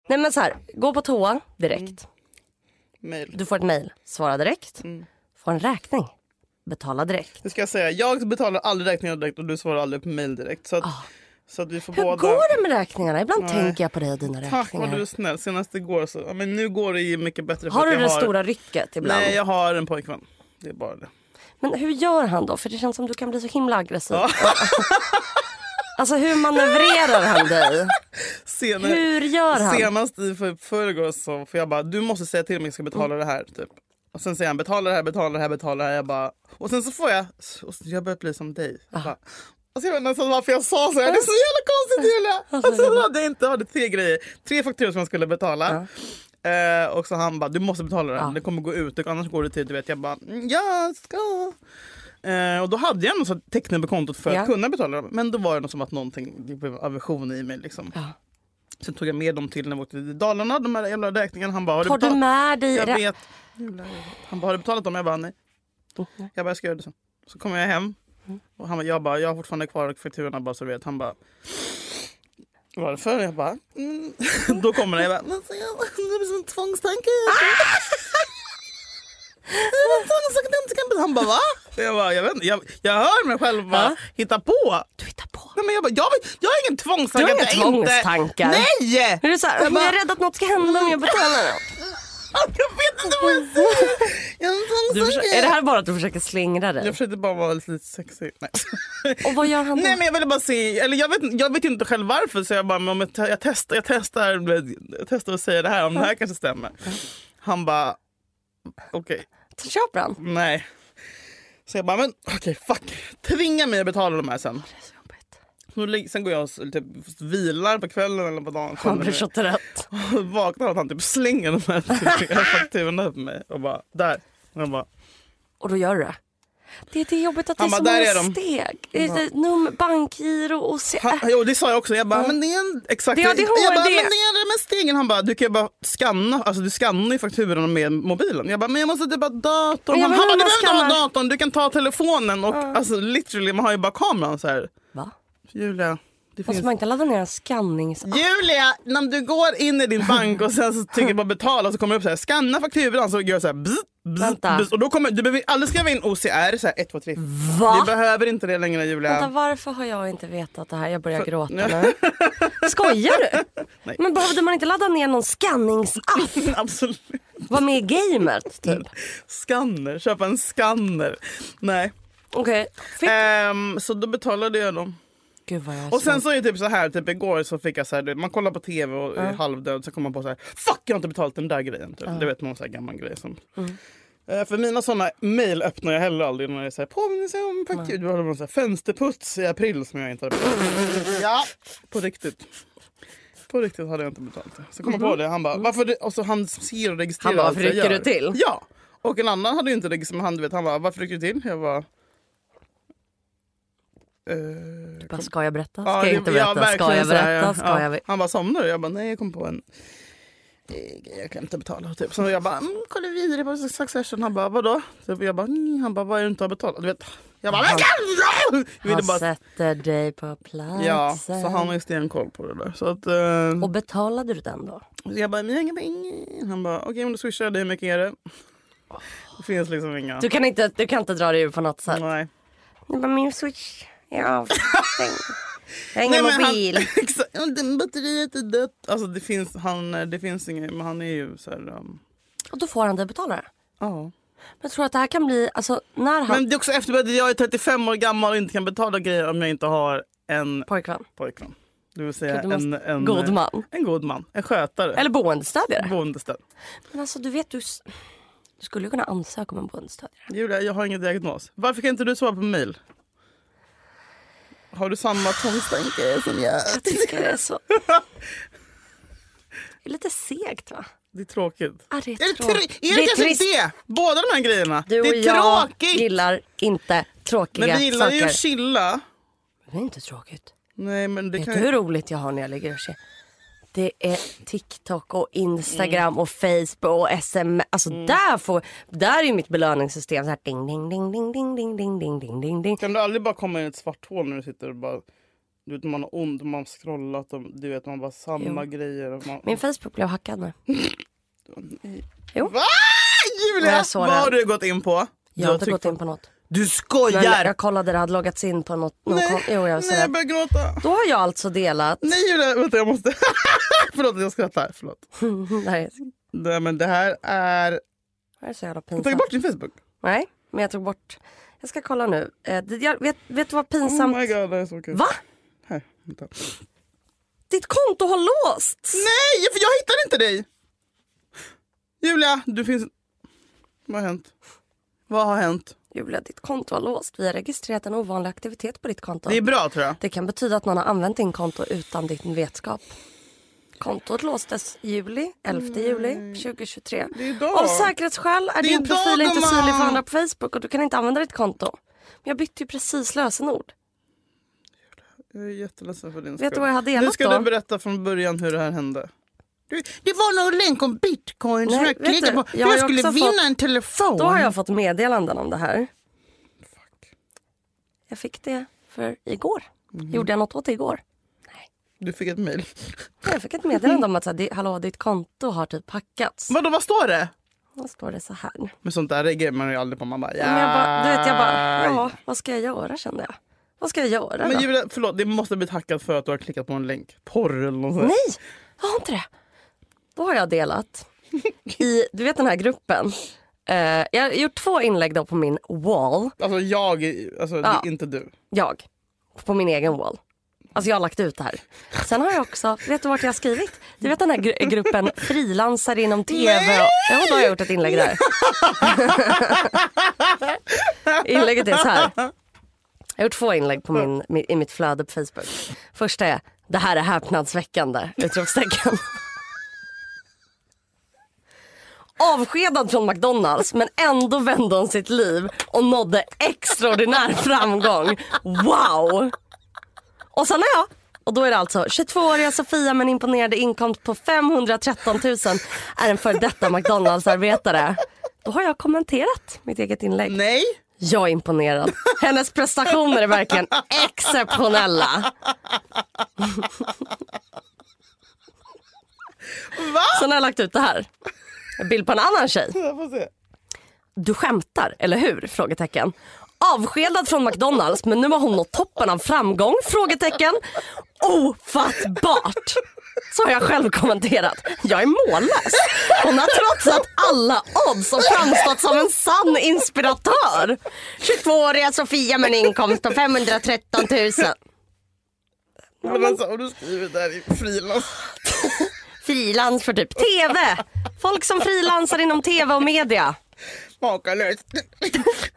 [SPEAKER 3] Nej men så här, gå på toa direkt.
[SPEAKER 2] Mail.
[SPEAKER 3] Du får ett mejl, svara direkt. Får en räkning, betala direkt.
[SPEAKER 2] Det ska jag säga. Jag betalar aldrig räkningar direkt och du svarar aldrig på mail direkt. Så att, så att vi får
[SPEAKER 3] Ah. Hur
[SPEAKER 2] båda...
[SPEAKER 3] går det med räkningarna? Ibland tänker jag på dig och dina
[SPEAKER 2] Tack
[SPEAKER 3] räkningar.
[SPEAKER 2] vad du är snäll. Senast igår så... Ja, men nu går det ju mycket bättre. för
[SPEAKER 3] Har
[SPEAKER 2] att
[SPEAKER 3] du
[SPEAKER 2] jag
[SPEAKER 3] det stora rycket ibland?
[SPEAKER 2] Nej, jag har en pojkvän. Det är bara det.
[SPEAKER 3] Men hur gör han då? För det känns som du kan bli så himla aggressiv. <laughs> alltså hur manövrerar
[SPEAKER 2] <laughs>
[SPEAKER 3] han dig?
[SPEAKER 2] Senare,
[SPEAKER 3] Hur gör han?
[SPEAKER 2] Senast i för, förrgår så får jag bara, du måste säga till om jag ska betala
[SPEAKER 3] Mm.
[SPEAKER 2] det här. Typ. Och sen säger han betala det här, betala det här, betala det här. Jag bara, och sen så får jag, och så- jag börjar bli som dig.
[SPEAKER 3] Ah.
[SPEAKER 2] Jag bara, Alltså jag vet inte ens varför jag sa så här. Det är så jävla konstigt
[SPEAKER 3] <laughs>
[SPEAKER 2] Julia!
[SPEAKER 3] Alltså,
[SPEAKER 2] Och så <laughs> hade jag inte hade tre grejer. Tre fakturor som jag skulle betala. Eh, och så han bara, du måste betala
[SPEAKER 3] Ah.
[SPEAKER 2] den. Det kommer gå ut, annars går det till du vet. Jag bara, "Mm, jag ska. Eh, och då hade jag ändå så att teckna på kontot för
[SPEAKER 3] Ja.
[SPEAKER 2] att kunna betala dem. Men då var det något som att någonting, det blev aversion i mig liksom. Sen tog jag med dem till när vi åkte till Dalarna, de här jävla räkningarna. Han bara, har du
[SPEAKER 3] Tar du
[SPEAKER 2] betalat?
[SPEAKER 3] med dig...
[SPEAKER 2] Jag
[SPEAKER 3] rä-
[SPEAKER 2] vet. Jävlar, jag vet. Han bara, har du betalat dem? Jag bara, nej. Jag bara, jag ska göra det sen. Så kommer jag hem. Och han bara, jag bara, jag har fortfarande kvar fakturorna bara så du vet. Han bara, varför? Jag bara, mm. <laughs> Då kommer det, jag bara, Ah! men så jag- det blir som en tvångstanke. Det är en tvångstanke att jag inte kan betala. Han bara, va? Jag bara, jag vet inte. Jag, jag hör mig själv bara, hitta på.
[SPEAKER 3] Du hittar på.
[SPEAKER 2] Nej, men jag, bara, jag, vill- jag har ingen tvångstanke.
[SPEAKER 3] Du har
[SPEAKER 2] att
[SPEAKER 3] inga
[SPEAKER 2] jag inte-
[SPEAKER 3] tvångstankar.
[SPEAKER 2] Nej!
[SPEAKER 3] Nu är du så här,
[SPEAKER 2] Jag
[SPEAKER 3] jag,
[SPEAKER 2] bara- Mm.
[SPEAKER 3] är rädd att något ska hända om jag betalar.
[SPEAKER 2] Jag vet inte vad jag <laughs> säger. Jag är
[SPEAKER 3] Du
[SPEAKER 2] en sån
[SPEAKER 3] försö-
[SPEAKER 2] sucker.
[SPEAKER 3] är det här bara att du försöker slingra dig?
[SPEAKER 2] Jag försökte bara vara lite sexig. Nej.
[SPEAKER 3] Och vad gör han då?
[SPEAKER 2] Nej men jag ville bara se, eller jag vet, jag vet inte själv varför så jag bara, men om jag, te- jag, testar, jag, testar, jag testar att säga det här om det här kanske stämmer. Han bara, okej,
[SPEAKER 3] Köper han?
[SPEAKER 2] nej. Så jag bara, men okej fuck. Tvinga mig att betala de här sen. Så lig- Sen går jag och s- typ, vilar på kvällen eller på dagen.
[SPEAKER 3] Han blir så trött.
[SPEAKER 2] Och vaknar av att han typ slänger de här <laughs> fakturorna på mig och bara, där. Och jag bara,
[SPEAKER 3] Och då gör du det. Det, det är jobbigt att det är
[SPEAKER 2] Han
[SPEAKER 3] så
[SPEAKER 2] bara, "Där
[SPEAKER 3] många
[SPEAKER 2] är de."
[SPEAKER 3] steg. Det är ett Num, bankgiro och se. Äh,
[SPEAKER 2] Han, jo, det sa jag också. Jag bara, men det är en, exakt.
[SPEAKER 3] Det är
[SPEAKER 2] jag
[SPEAKER 3] ADHD.
[SPEAKER 2] bara, men det är det med stegen. Han bara, du kan ju bara scanna. Alltså du scannar ju fakturorna med mobilen. Jag bara, men jag måste typ ha datorn.
[SPEAKER 3] Ja,
[SPEAKER 2] han bara, du
[SPEAKER 3] men man
[SPEAKER 2] behöver inte ha
[SPEAKER 3] scannar.
[SPEAKER 2] datorn. Du kan ta telefonen och alltså literally, man har ju bara kameran så här.
[SPEAKER 3] Va?
[SPEAKER 2] Julia, det finns...
[SPEAKER 3] Måste Alltså, man inte ladda ner en skannings...
[SPEAKER 2] Julia, när du går in i din bank och
[SPEAKER 3] <laughs>
[SPEAKER 2] sen så trycker på betala så kommer det upp så här, scanna fakturan så gör jag så här, bzz,
[SPEAKER 3] Vänta.
[SPEAKER 2] bzz, bzz, och då kommer, du behöver aldrig skriva in OCR så här 1, 2, 3.
[SPEAKER 3] Va?
[SPEAKER 2] Du behöver inte det längre Julia.
[SPEAKER 3] Vänta, varför har jag inte vetat det här? Jag börjar gråta nu. Skojar du?
[SPEAKER 2] <laughs> Nej.
[SPEAKER 3] Men behövde man inte ladda ner någon skanningsapp?
[SPEAKER 2] <laughs> Absolut.
[SPEAKER 3] Var med i gamet
[SPEAKER 2] Mm.
[SPEAKER 3] typ?
[SPEAKER 2] Skanner, köpa en skanner. Nej.
[SPEAKER 3] Okej. Fick...
[SPEAKER 2] Ehm, så då betalade jag dem.
[SPEAKER 3] Gud vad jag
[SPEAKER 2] Och sen så är det typ så här, typ igår så fick jag så här, du vet, man kollar på tv och är halvdöd så kommer man på så här, fuck jag har inte betalat den där grejen. Typ. Du vet någon så här gammal grej som...
[SPEAKER 3] Mm.
[SPEAKER 2] Eh, för mina såna mail öppnar jag heller aldrig när det är så här, påminnelse om faktur. Du har någon så här fönsterputs i april som jag inte hade betalat. ja, på riktigt. På riktigt hade jag inte betalat det. Så kom jag på det, han bara, varför det? Och så han ser och registrerar
[SPEAKER 3] Mm. Han bara,
[SPEAKER 2] allt jag
[SPEAKER 3] "Varför rycker du
[SPEAKER 2] gör."
[SPEAKER 3] till?
[SPEAKER 2] Ja. Och en annan hade ju inte registrerat, men han, du vet, han bara, varför rycker du till? Jag bara... "Eh,
[SPEAKER 3] Bara, ska jag berätta?
[SPEAKER 2] Ja,
[SPEAKER 3] Ska jag
[SPEAKER 2] det-
[SPEAKER 3] inte
[SPEAKER 2] ja,
[SPEAKER 3] berätta? Ska
[SPEAKER 2] verkligen
[SPEAKER 3] jag
[SPEAKER 2] så här,
[SPEAKER 3] berätta? Ska
[SPEAKER 2] ja.
[SPEAKER 3] jag...
[SPEAKER 2] Han bara, somnar du? Jag bara, nej jag kom på en eh, grej jag kan inte betala. Typ. Så jag bara, mm, kolla vidare på Succession. Han bara, vadå? Typ, jag bara, mm. han bara, vad är det du inte har betalat? Du vet. Jag bara, han,
[SPEAKER 3] Han
[SPEAKER 2] ville bara,
[SPEAKER 3] sätter dig på platsen.
[SPEAKER 2] Ja, så han har ju stenkoll på det där. Så att, eh,
[SPEAKER 3] Och betalade du den då?
[SPEAKER 2] så jag bara, men jag har inga pengar. Han bara, okej men då swishar jag dig, hur mycket är det? Det finns liksom inga.
[SPEAKER 3] Du kan inte, du kan inte dra dig ur på något sätt?
[SPEAKER 2] Nej.
[SPEAKER 3] Nej, men min switch är
[SPEAKER 2] <laughs>
[SPEAKER 3] avstängd. Jag har ingen
[SPEAKER 2] men
[SPEAKER 3] mobil.
[SPEAKER 2] Han, <laughs> exakt, Ja, den batteriet är dött. Alltså det finns, han, det finns inget, men han är ju så här, um,
[SPEAKER 3] Och då får han det betala det.
[SPEAKER 2] ja.
[SPEAKER 3] Men jag tror att det här kan bli, alltså när han...
[SPEAKER 2] Men det är också efterbörd. Jag är 35 år gammal och inte kan betala grejer om jag inte har en
[SPEAKER 3] Pojkvän.
[SPEAKER 2] pojkvän. Det vill säga
[SPEAKER 3] Du måste-
[SPEAKER 2] en, en... eh,
[SPEAKER 3] god man.
[SPEAKER 2] En god man. En skötare.
[SPEAKER 3] Eller boendestödjare.
[SPEAKER 2] Bondeställd.
[SPEAKER 3] Men alltså du vet, du, s- du skulle ju kunna ansöka om en boendestödjare.
[SPEAKER 2] Julia, jag har ingen diagnos. Varför kan inte du svara på mejl? Har du samma tvångstanke som jag? <laughs>
[SPEAKER 3] Jag tycker det är så... Det är lite segt va?
[SPEAKER 2] Det är tråkigt.
[SPEAKER 3] Ja, det är,
[SPEAKER 2] Är det,
[SPEAKER 3] tråkigt.
[SPEAKER 2] tr- är det, kanske
[SPEAKER 3] trist.
[SPEAKER 2] det? Båda de här grejerna.
[SPEAKER 3] Du och
[SPEAKER 2] det är
[SPEAKER 3] jag
[SPEAKER 2] tråkigt!
[SPEAKER 3] gillar inte tråkiga
[SPEAKER 2] men vi gillar
[SPEAKER 3] saker.
[SPEAKER 2] ju att chilla.
[SPEAKER 3] Det är inte tråkigt.
[SPEAKER 2] Nej, men det
[SPEAKER 3] Vet
[SPEAKER 2] kan
[SPEAKER 3] du hur roligt jag har när jag ligger och ser? Det är TikTok och Instagram
[SPEAKER 2] Mm.
[SPEAKER 3] och Facebook och SMS. Alltså där, får, där är ju mitt belöningssystem så här ding ding ding ding ding ding ding ding ding ding ding.
[SPEAKER 2] Kan du aldrig bara komma in i ett svart hål när du sitter och bara... Du vet, man har ont, man har scrollat och du vet, man bara samma grejer. Och man...
[SPEAKER 3] Min Facebook blev hackad nu.
[SPEAKER 2] Va?
[SPEAKER 3] Jag
[SPEAKER 2] Julia!
[SPEAKER 3] är så
[SPEAKER 2] Vad
[SPEAKER 3] rädd.
[SPEAKER 2] har du gått in på?
[SPEAKER 3] Jag har inte gått in på något.
[SPEAKER 2] Du
[SPEAKER 3] Jag,
[SPEAKER 2] skojar!
[SPEAKER 3] jag kollade, det hade loggats in på något. Någon
[SPEAKER 2] Nej,
[SPEAKER 3] kom, jo, jag var så
[SPEAKER 2] nej, jag
[SPEAKER 3] rädd.
[SPEAKER 2] börjar gråta.
[SPEAKER 3] Då har jag alltså delat.
[SPEAKER 2] Nej Julia, vänta jag måste... <laughs> förlåt att jag skrattar. Förlåt.
[SPEAKER 3] <laughs> Det här är,
[SPEAKER 2] Nej, men det här är...
[SPEAKER 3] det här är så jävla
[SPEAKER 2] Har du tagit
[SPEAKER 3] pinsamt.
[SPEAKER 2] bort din Facebook?
[SPEAKER 3] Nej, men jag tog bort. Jag ska kolla nu. Eh, det- jag, vet, vet du vad
[SPEAKER 2] Oh
[SPEAKER 3] pinsamt?
[SPEAKER 2] my god, det här är så kul.
[SPEAKER 3] Va?
[SPEAKER 2] Här, vänta.
[SPEAKER 3] Ditt konto har låsts!
[SPEAKER 2] Nej, för jag hittade inte dig! Julia, du finns... Vad har hänt? Vad har hänt?
[SPEAKER 3] Julia, ditt konto har låst. Vi har registrerat en ovanlig aktivitet på ditt konto.
[SPEAKER 2] Det är
[SPEAKER 3] Det,
[SPEAKER 2] bra tror jag.
[SPEAKER 3] kan betyda att någon har använt din konto utan din vetskap. Kontot låstes i juli, 11 juli 2023.
[SPEAKER 2] Mm. Det är idag.
[SPEAKER 3] Av säkerhetsskäl är
[SPEAKER 2] Det är
[SPEAKER 3] din profil
[SPEAKER 2] idag,
[SPEAKER 3] inte
[SPEAKER 2] gumman.
[SPEAKER 3] synlig för andra på Facebook och du kan inte använda ditt konto. Men jag bytte ju precis lösenord.
[SPEAKER 2] Jag är jätteledsen för din
[SPEAKER 3] Vet du
[SPEAKER 2] skull.
[SPEAKER 3] vad jag har delat
[SPEAKER 2] Nu ska
[SPEAKER 3] då?
[SPEAKER 2] du berätta från början hur det här hände. Det var någon länk om bitcoin
[SPEAKER 3] Nej, vet du, jag har ju också fått-
[SPEAKER 2] en telefon.
[SPEAKER 3] Då har jag fått meddelanden om det här. Jag fick det för igår.
[SPEAKER 2] Mm.
[SPEAKER 3] Gjorde jag något åt det igår?
[SPEAKER 2] Du fick ett mejl. <laughs>
[SPEAKER 3] Nej, Jag fick ett meddelande om att så här, "Di- hallå, ditt konto har typ hackats.
[SPEAKER 2] Vadå, vad står det?
[SPEAKER 3] Då står det så här.
[SPEAKER 2] Men sånt där reagerar man ju aldrig på. Man bara, ja.
[SPEAKER 3] Men jag bara, du vet, jag bara, ja, vad ska jag göra kände jag. Vad ska jag göra
[SPEAKER 2] Men
[SPEAKER 3] då?
[SPEAKER 2] Julia, förlåt, det måste ha blivit hackat för att du har klickat på en länk. Porr eller något sånt.
[SPEAKER 3] Nej, jag har inte det. Då har jag delat i, du vet den här gruppen. Eh, jag har gjort två inlägg då på min wall.
[SPEAKER 2] Alltså jag, är- alltså
[SPEAKER 3] Ja.
[SPEAKER 2] det är inte du.
[SPEAKER 3] Jag. På min egen wall. Alltså jag har lagt ut det här. Sen har jag också, vet du vart jag har skrivit? Du vet den här gru- gruppen frilansare inom tv? Och, ja, då har jag gjort ett inlägg där. Inlägget är så här. Jag har gjort två inlägg på min, mi- i mitt flöde på Facebook. Första är, det här är häpnadsväckande! Utropstecken. Avskedad från McDonalds men ändå vände hon sitt liv och nådde extraordinär framgång. Wow! Och sen är jag, och då är det alltså 22-åriga Sofia med en imponerande inkomst på 513 000 är en före detta McDonalds-arbetare. Då har jag kommenterat mitt eget inlägg.
[SPEAKER 2] Nej.
[SPEAKER 3] Jag är imponerad. Hennes prestationer är verkligen exceptionella.
[SPEAKER 2] Va?
[SPEAKER 3] Sen har jag lagt ut det här. En bild på en annan tjej.
[SPEAKER 2] Jag får se.
[SPEAKER 3] Du skämtar, eller hur? Frågetecken. Avskedad från McDonalds men nu har hon nått toppen av framgång? Frågetecken. Ofattbart! Så har jag själv kommenterat. Jag är mållös. Hon har trotsat alla odds och framstått som en sann inspiratör. 22-åriga Sofia med en inkomst på 513 000.
[SPEAKER 2] Men alltså om du skriver det här i frilans.
[SPEAKER 3] Frilans för typ TV. Folk som frilansar inom TV och media. <laughs>
[SPEAKER 2] Makalöst.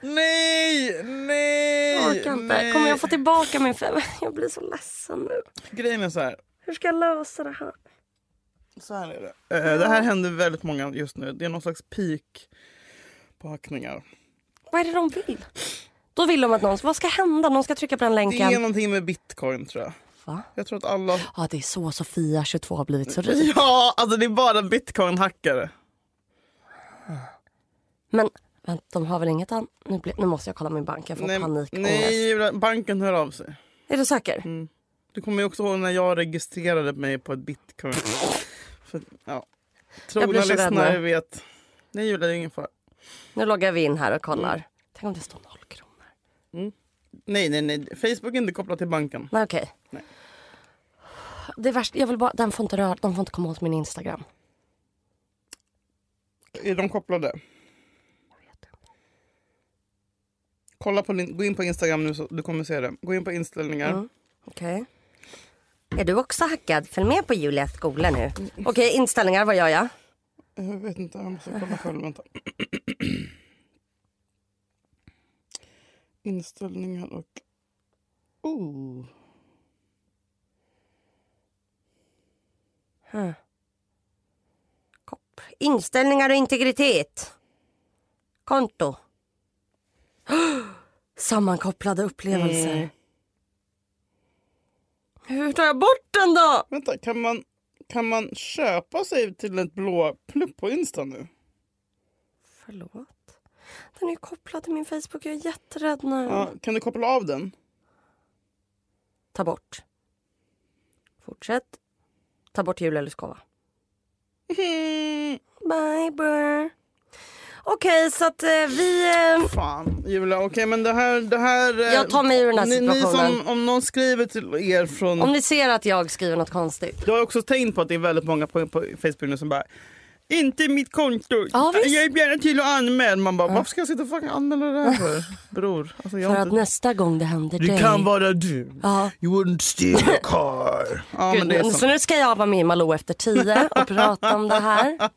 [SPEAKER 2] nej, nej.
[SPEAKER 3] Orkar inte.
[SPEAKER 2] nej.
[SPEAKER 3] Kommer jag få tillbaka min fem? Jag blir så ledsen nu.
[SPEAKER 2] Grejen är så här.
[SPEAKER 3] Hur ska jag lösa det här?
[SPEAKER 2] Så här är det. Eh, Det här händer väldigt många just nu. Det är någon slags peak på hackningar.
[SPEAKER 3] Vad är det de vill? Då vill de att någon... Vad ska hända? Någon ska trycka på den
[SPEAKER 2] Det är
[SPEAKER 3] länken.
[SPEAKER 2] någonting med bitcoin tror jag.
[SPEAKER 3] Va?
[SPEAKER 2] Jag tror att alla... <laughs>
[SPEAKER 3] Ja, det är så Sofia, 22, har blivit så rik.
[SPEAKER 2] Ja, alltså det är bara bitcoin-hackare.
[SPEAKER 3] Men vänta, de har väl inget annat? Nu, blir- nu måste jag kolla min bank. Jag får panik. Nej.
[SPEAKER 2] nej, banken hör av sig. Mm.
[SPEAKER 3] Är du säker?
[SPEAKER 2] Du kommer ju också ihåg när jag registrerade mig på ett bitcoin. För, ja. Trogna
[SPEAKER 3] blir så rädd
[SPEAKER 2] lyssnare
[SPEAKER 3] nu.
[SPEAKER 2] vet. Nej Julia, det är ingen fara.
[SPEAKER 3] Nu loggar vi in här och kollar.
[SPEAKER 2] Mm.
[SPEAKER 3] Tänk om det står noll kronor.
[SPEAKER 2] Nej, nej, nej. Facebook är inte kopplat till banken.
[SPEAKER 3] Nej, okej.
[SPEAKER 2] Nej.
[SPEAKER 3] Det är värst, jag vill bara, den får inte röra, de får inte komma åt min Instagram.
[SPEAKER 2] Är de kopplade? Kolla på din, gå in på Instagram nu så du kommer se det. Gå in på inställningar.
[SPEAKER 3] Okej. Är du också hackad? Följ med på Julias skola nu. Okej, inställningar, vad gör jag?
[SPEAKER 2] Jag vet inte, jag måste
[SPEAKER 3] <laughs>
[SPEAKER 2] kolla själv. Vänta. Inställningar och... Oh.
[SPEAKER 3] Kopp. Inställningar och integritet. Konto. <gasps> Sammankopplade upplevelser.
[SPEAKER 2] Eh.
[SPEAKER 3] Hur tar jag bort den då?
[SPEAKER 2] Vänta, kan man, kan man köpa sig till ett blå plupp på Insta nu?
[SPEAKER 3] Förlåt. Den är ju kopplad till min Facebook. Jag är jätterädd nu.
[SPEAKER 2] Ja, kan du koppla av den? <laughs>
[SPEAKER 3] Ta bort. Fortsätt. Ta bort Julia Lyskova.
[SPEAKER 2] Mm.
[SPEAKER 3] Bye, bror. Okej, så att eh, vi... Eh,
[SPEAKER 2] Fan, Julia. Okej, men det här... Det här eh,
[SPEAKER 3] Jag tar mig ur den här
[SPEAKER 2] ni, ni
[SPEAKER 3] situationen.
[SPEAKER 2] som, Om någon skriver till er från...
[SPEAKER 3] om ni ser att jag skriver något konstigt.
[SPEAKER 2] Jag har också tänkt på att det är väldigt många på, på Facebook nu som bara inte mitt konto.
[SPEAKER 3] Ja, visst.
[SPEAKER 2] jag är gärna till och anmäld. Man bara, varför ska jag sitta och fucking anmäla det här för? Bror. Alltså, jag
[SPEAKER 3] För
[SPEAKER 2] har
[SPEAKER 3] att
[SPEAKER 2] inte...
[SPEAKER 3] nästa gång det händer
[SPEAKER 2] Det
[SPEAKER 3] dig...
[SPEAKER 2] kan vara du.
[SPEAKER 3] Ja.
[SPEAKER 2] You wouldn't steal a car. <laughs> ja, men det är
[SPEAKER 3] Gud, så
[SPEAKER 2] så.
[SPEAKER 3] nu ska jag vara med i Malou efter tio och prata om
[SPEAKER 2] <laughs>
[SPEAKER 3] det här.
[SPEAKER 2] Mm.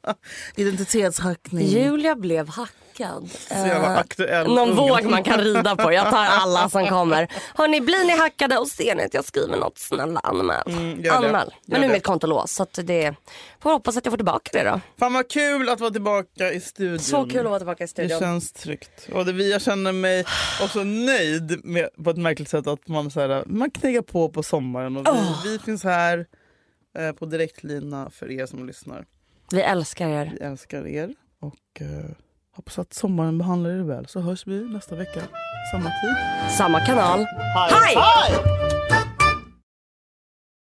[SPEAKER 2] Identitetshackning.
[SPEAKER 3] Julia blev hackad. Eh,
[SPEAKER 2] Så jävla aktuell.
[SPEAKER 3] Någon
[SPEAKER 2] Ung.
[SPEAKER 3] våg man kan rida på. Jag tar
[SPEAKER 2] <laughs>
[SPEAKER 3] alla som kommer. Hörni, blir ni hackade och ser ni att jag skriver något, snälla anmäl.
[SPEAKER 2] Mm, gör det.
[SPEAKER 3] anmäl.
[SPEAKER 2] Gör
[SPEAKER 3] Men nu är
[SPEAKER 2] det.
[SPEAKER 3] mitt konto låst så att det får hoppas att jag får tillbaka det då.
[SPEAKER 2] Fan vad kul att vara tillbaka i studion.
[SPEAKER 3] Så kul att vara tillbaka i
[SPEAKER 2] Det
[SPEAKER 3] studion.
[SPEAKER 2] känns tryggt. Och det, vi- jag känner mig också nöjd med, på ett märkligt sätt att man, så här, man knegar på på sommaren. Och vi, vi finns här eh, på direktlina för er som lyssnar.
[SPEAKER 3] Vi älskar er.
[SPEAKER 2] Vi älskar er och eh, hoppas att sommaren behandlar er väl. Så hörs vi nästa vecka, samma tid.
[SPEAKER 3] Samma kanal. Hej!
[SPEAKER 2] Hej!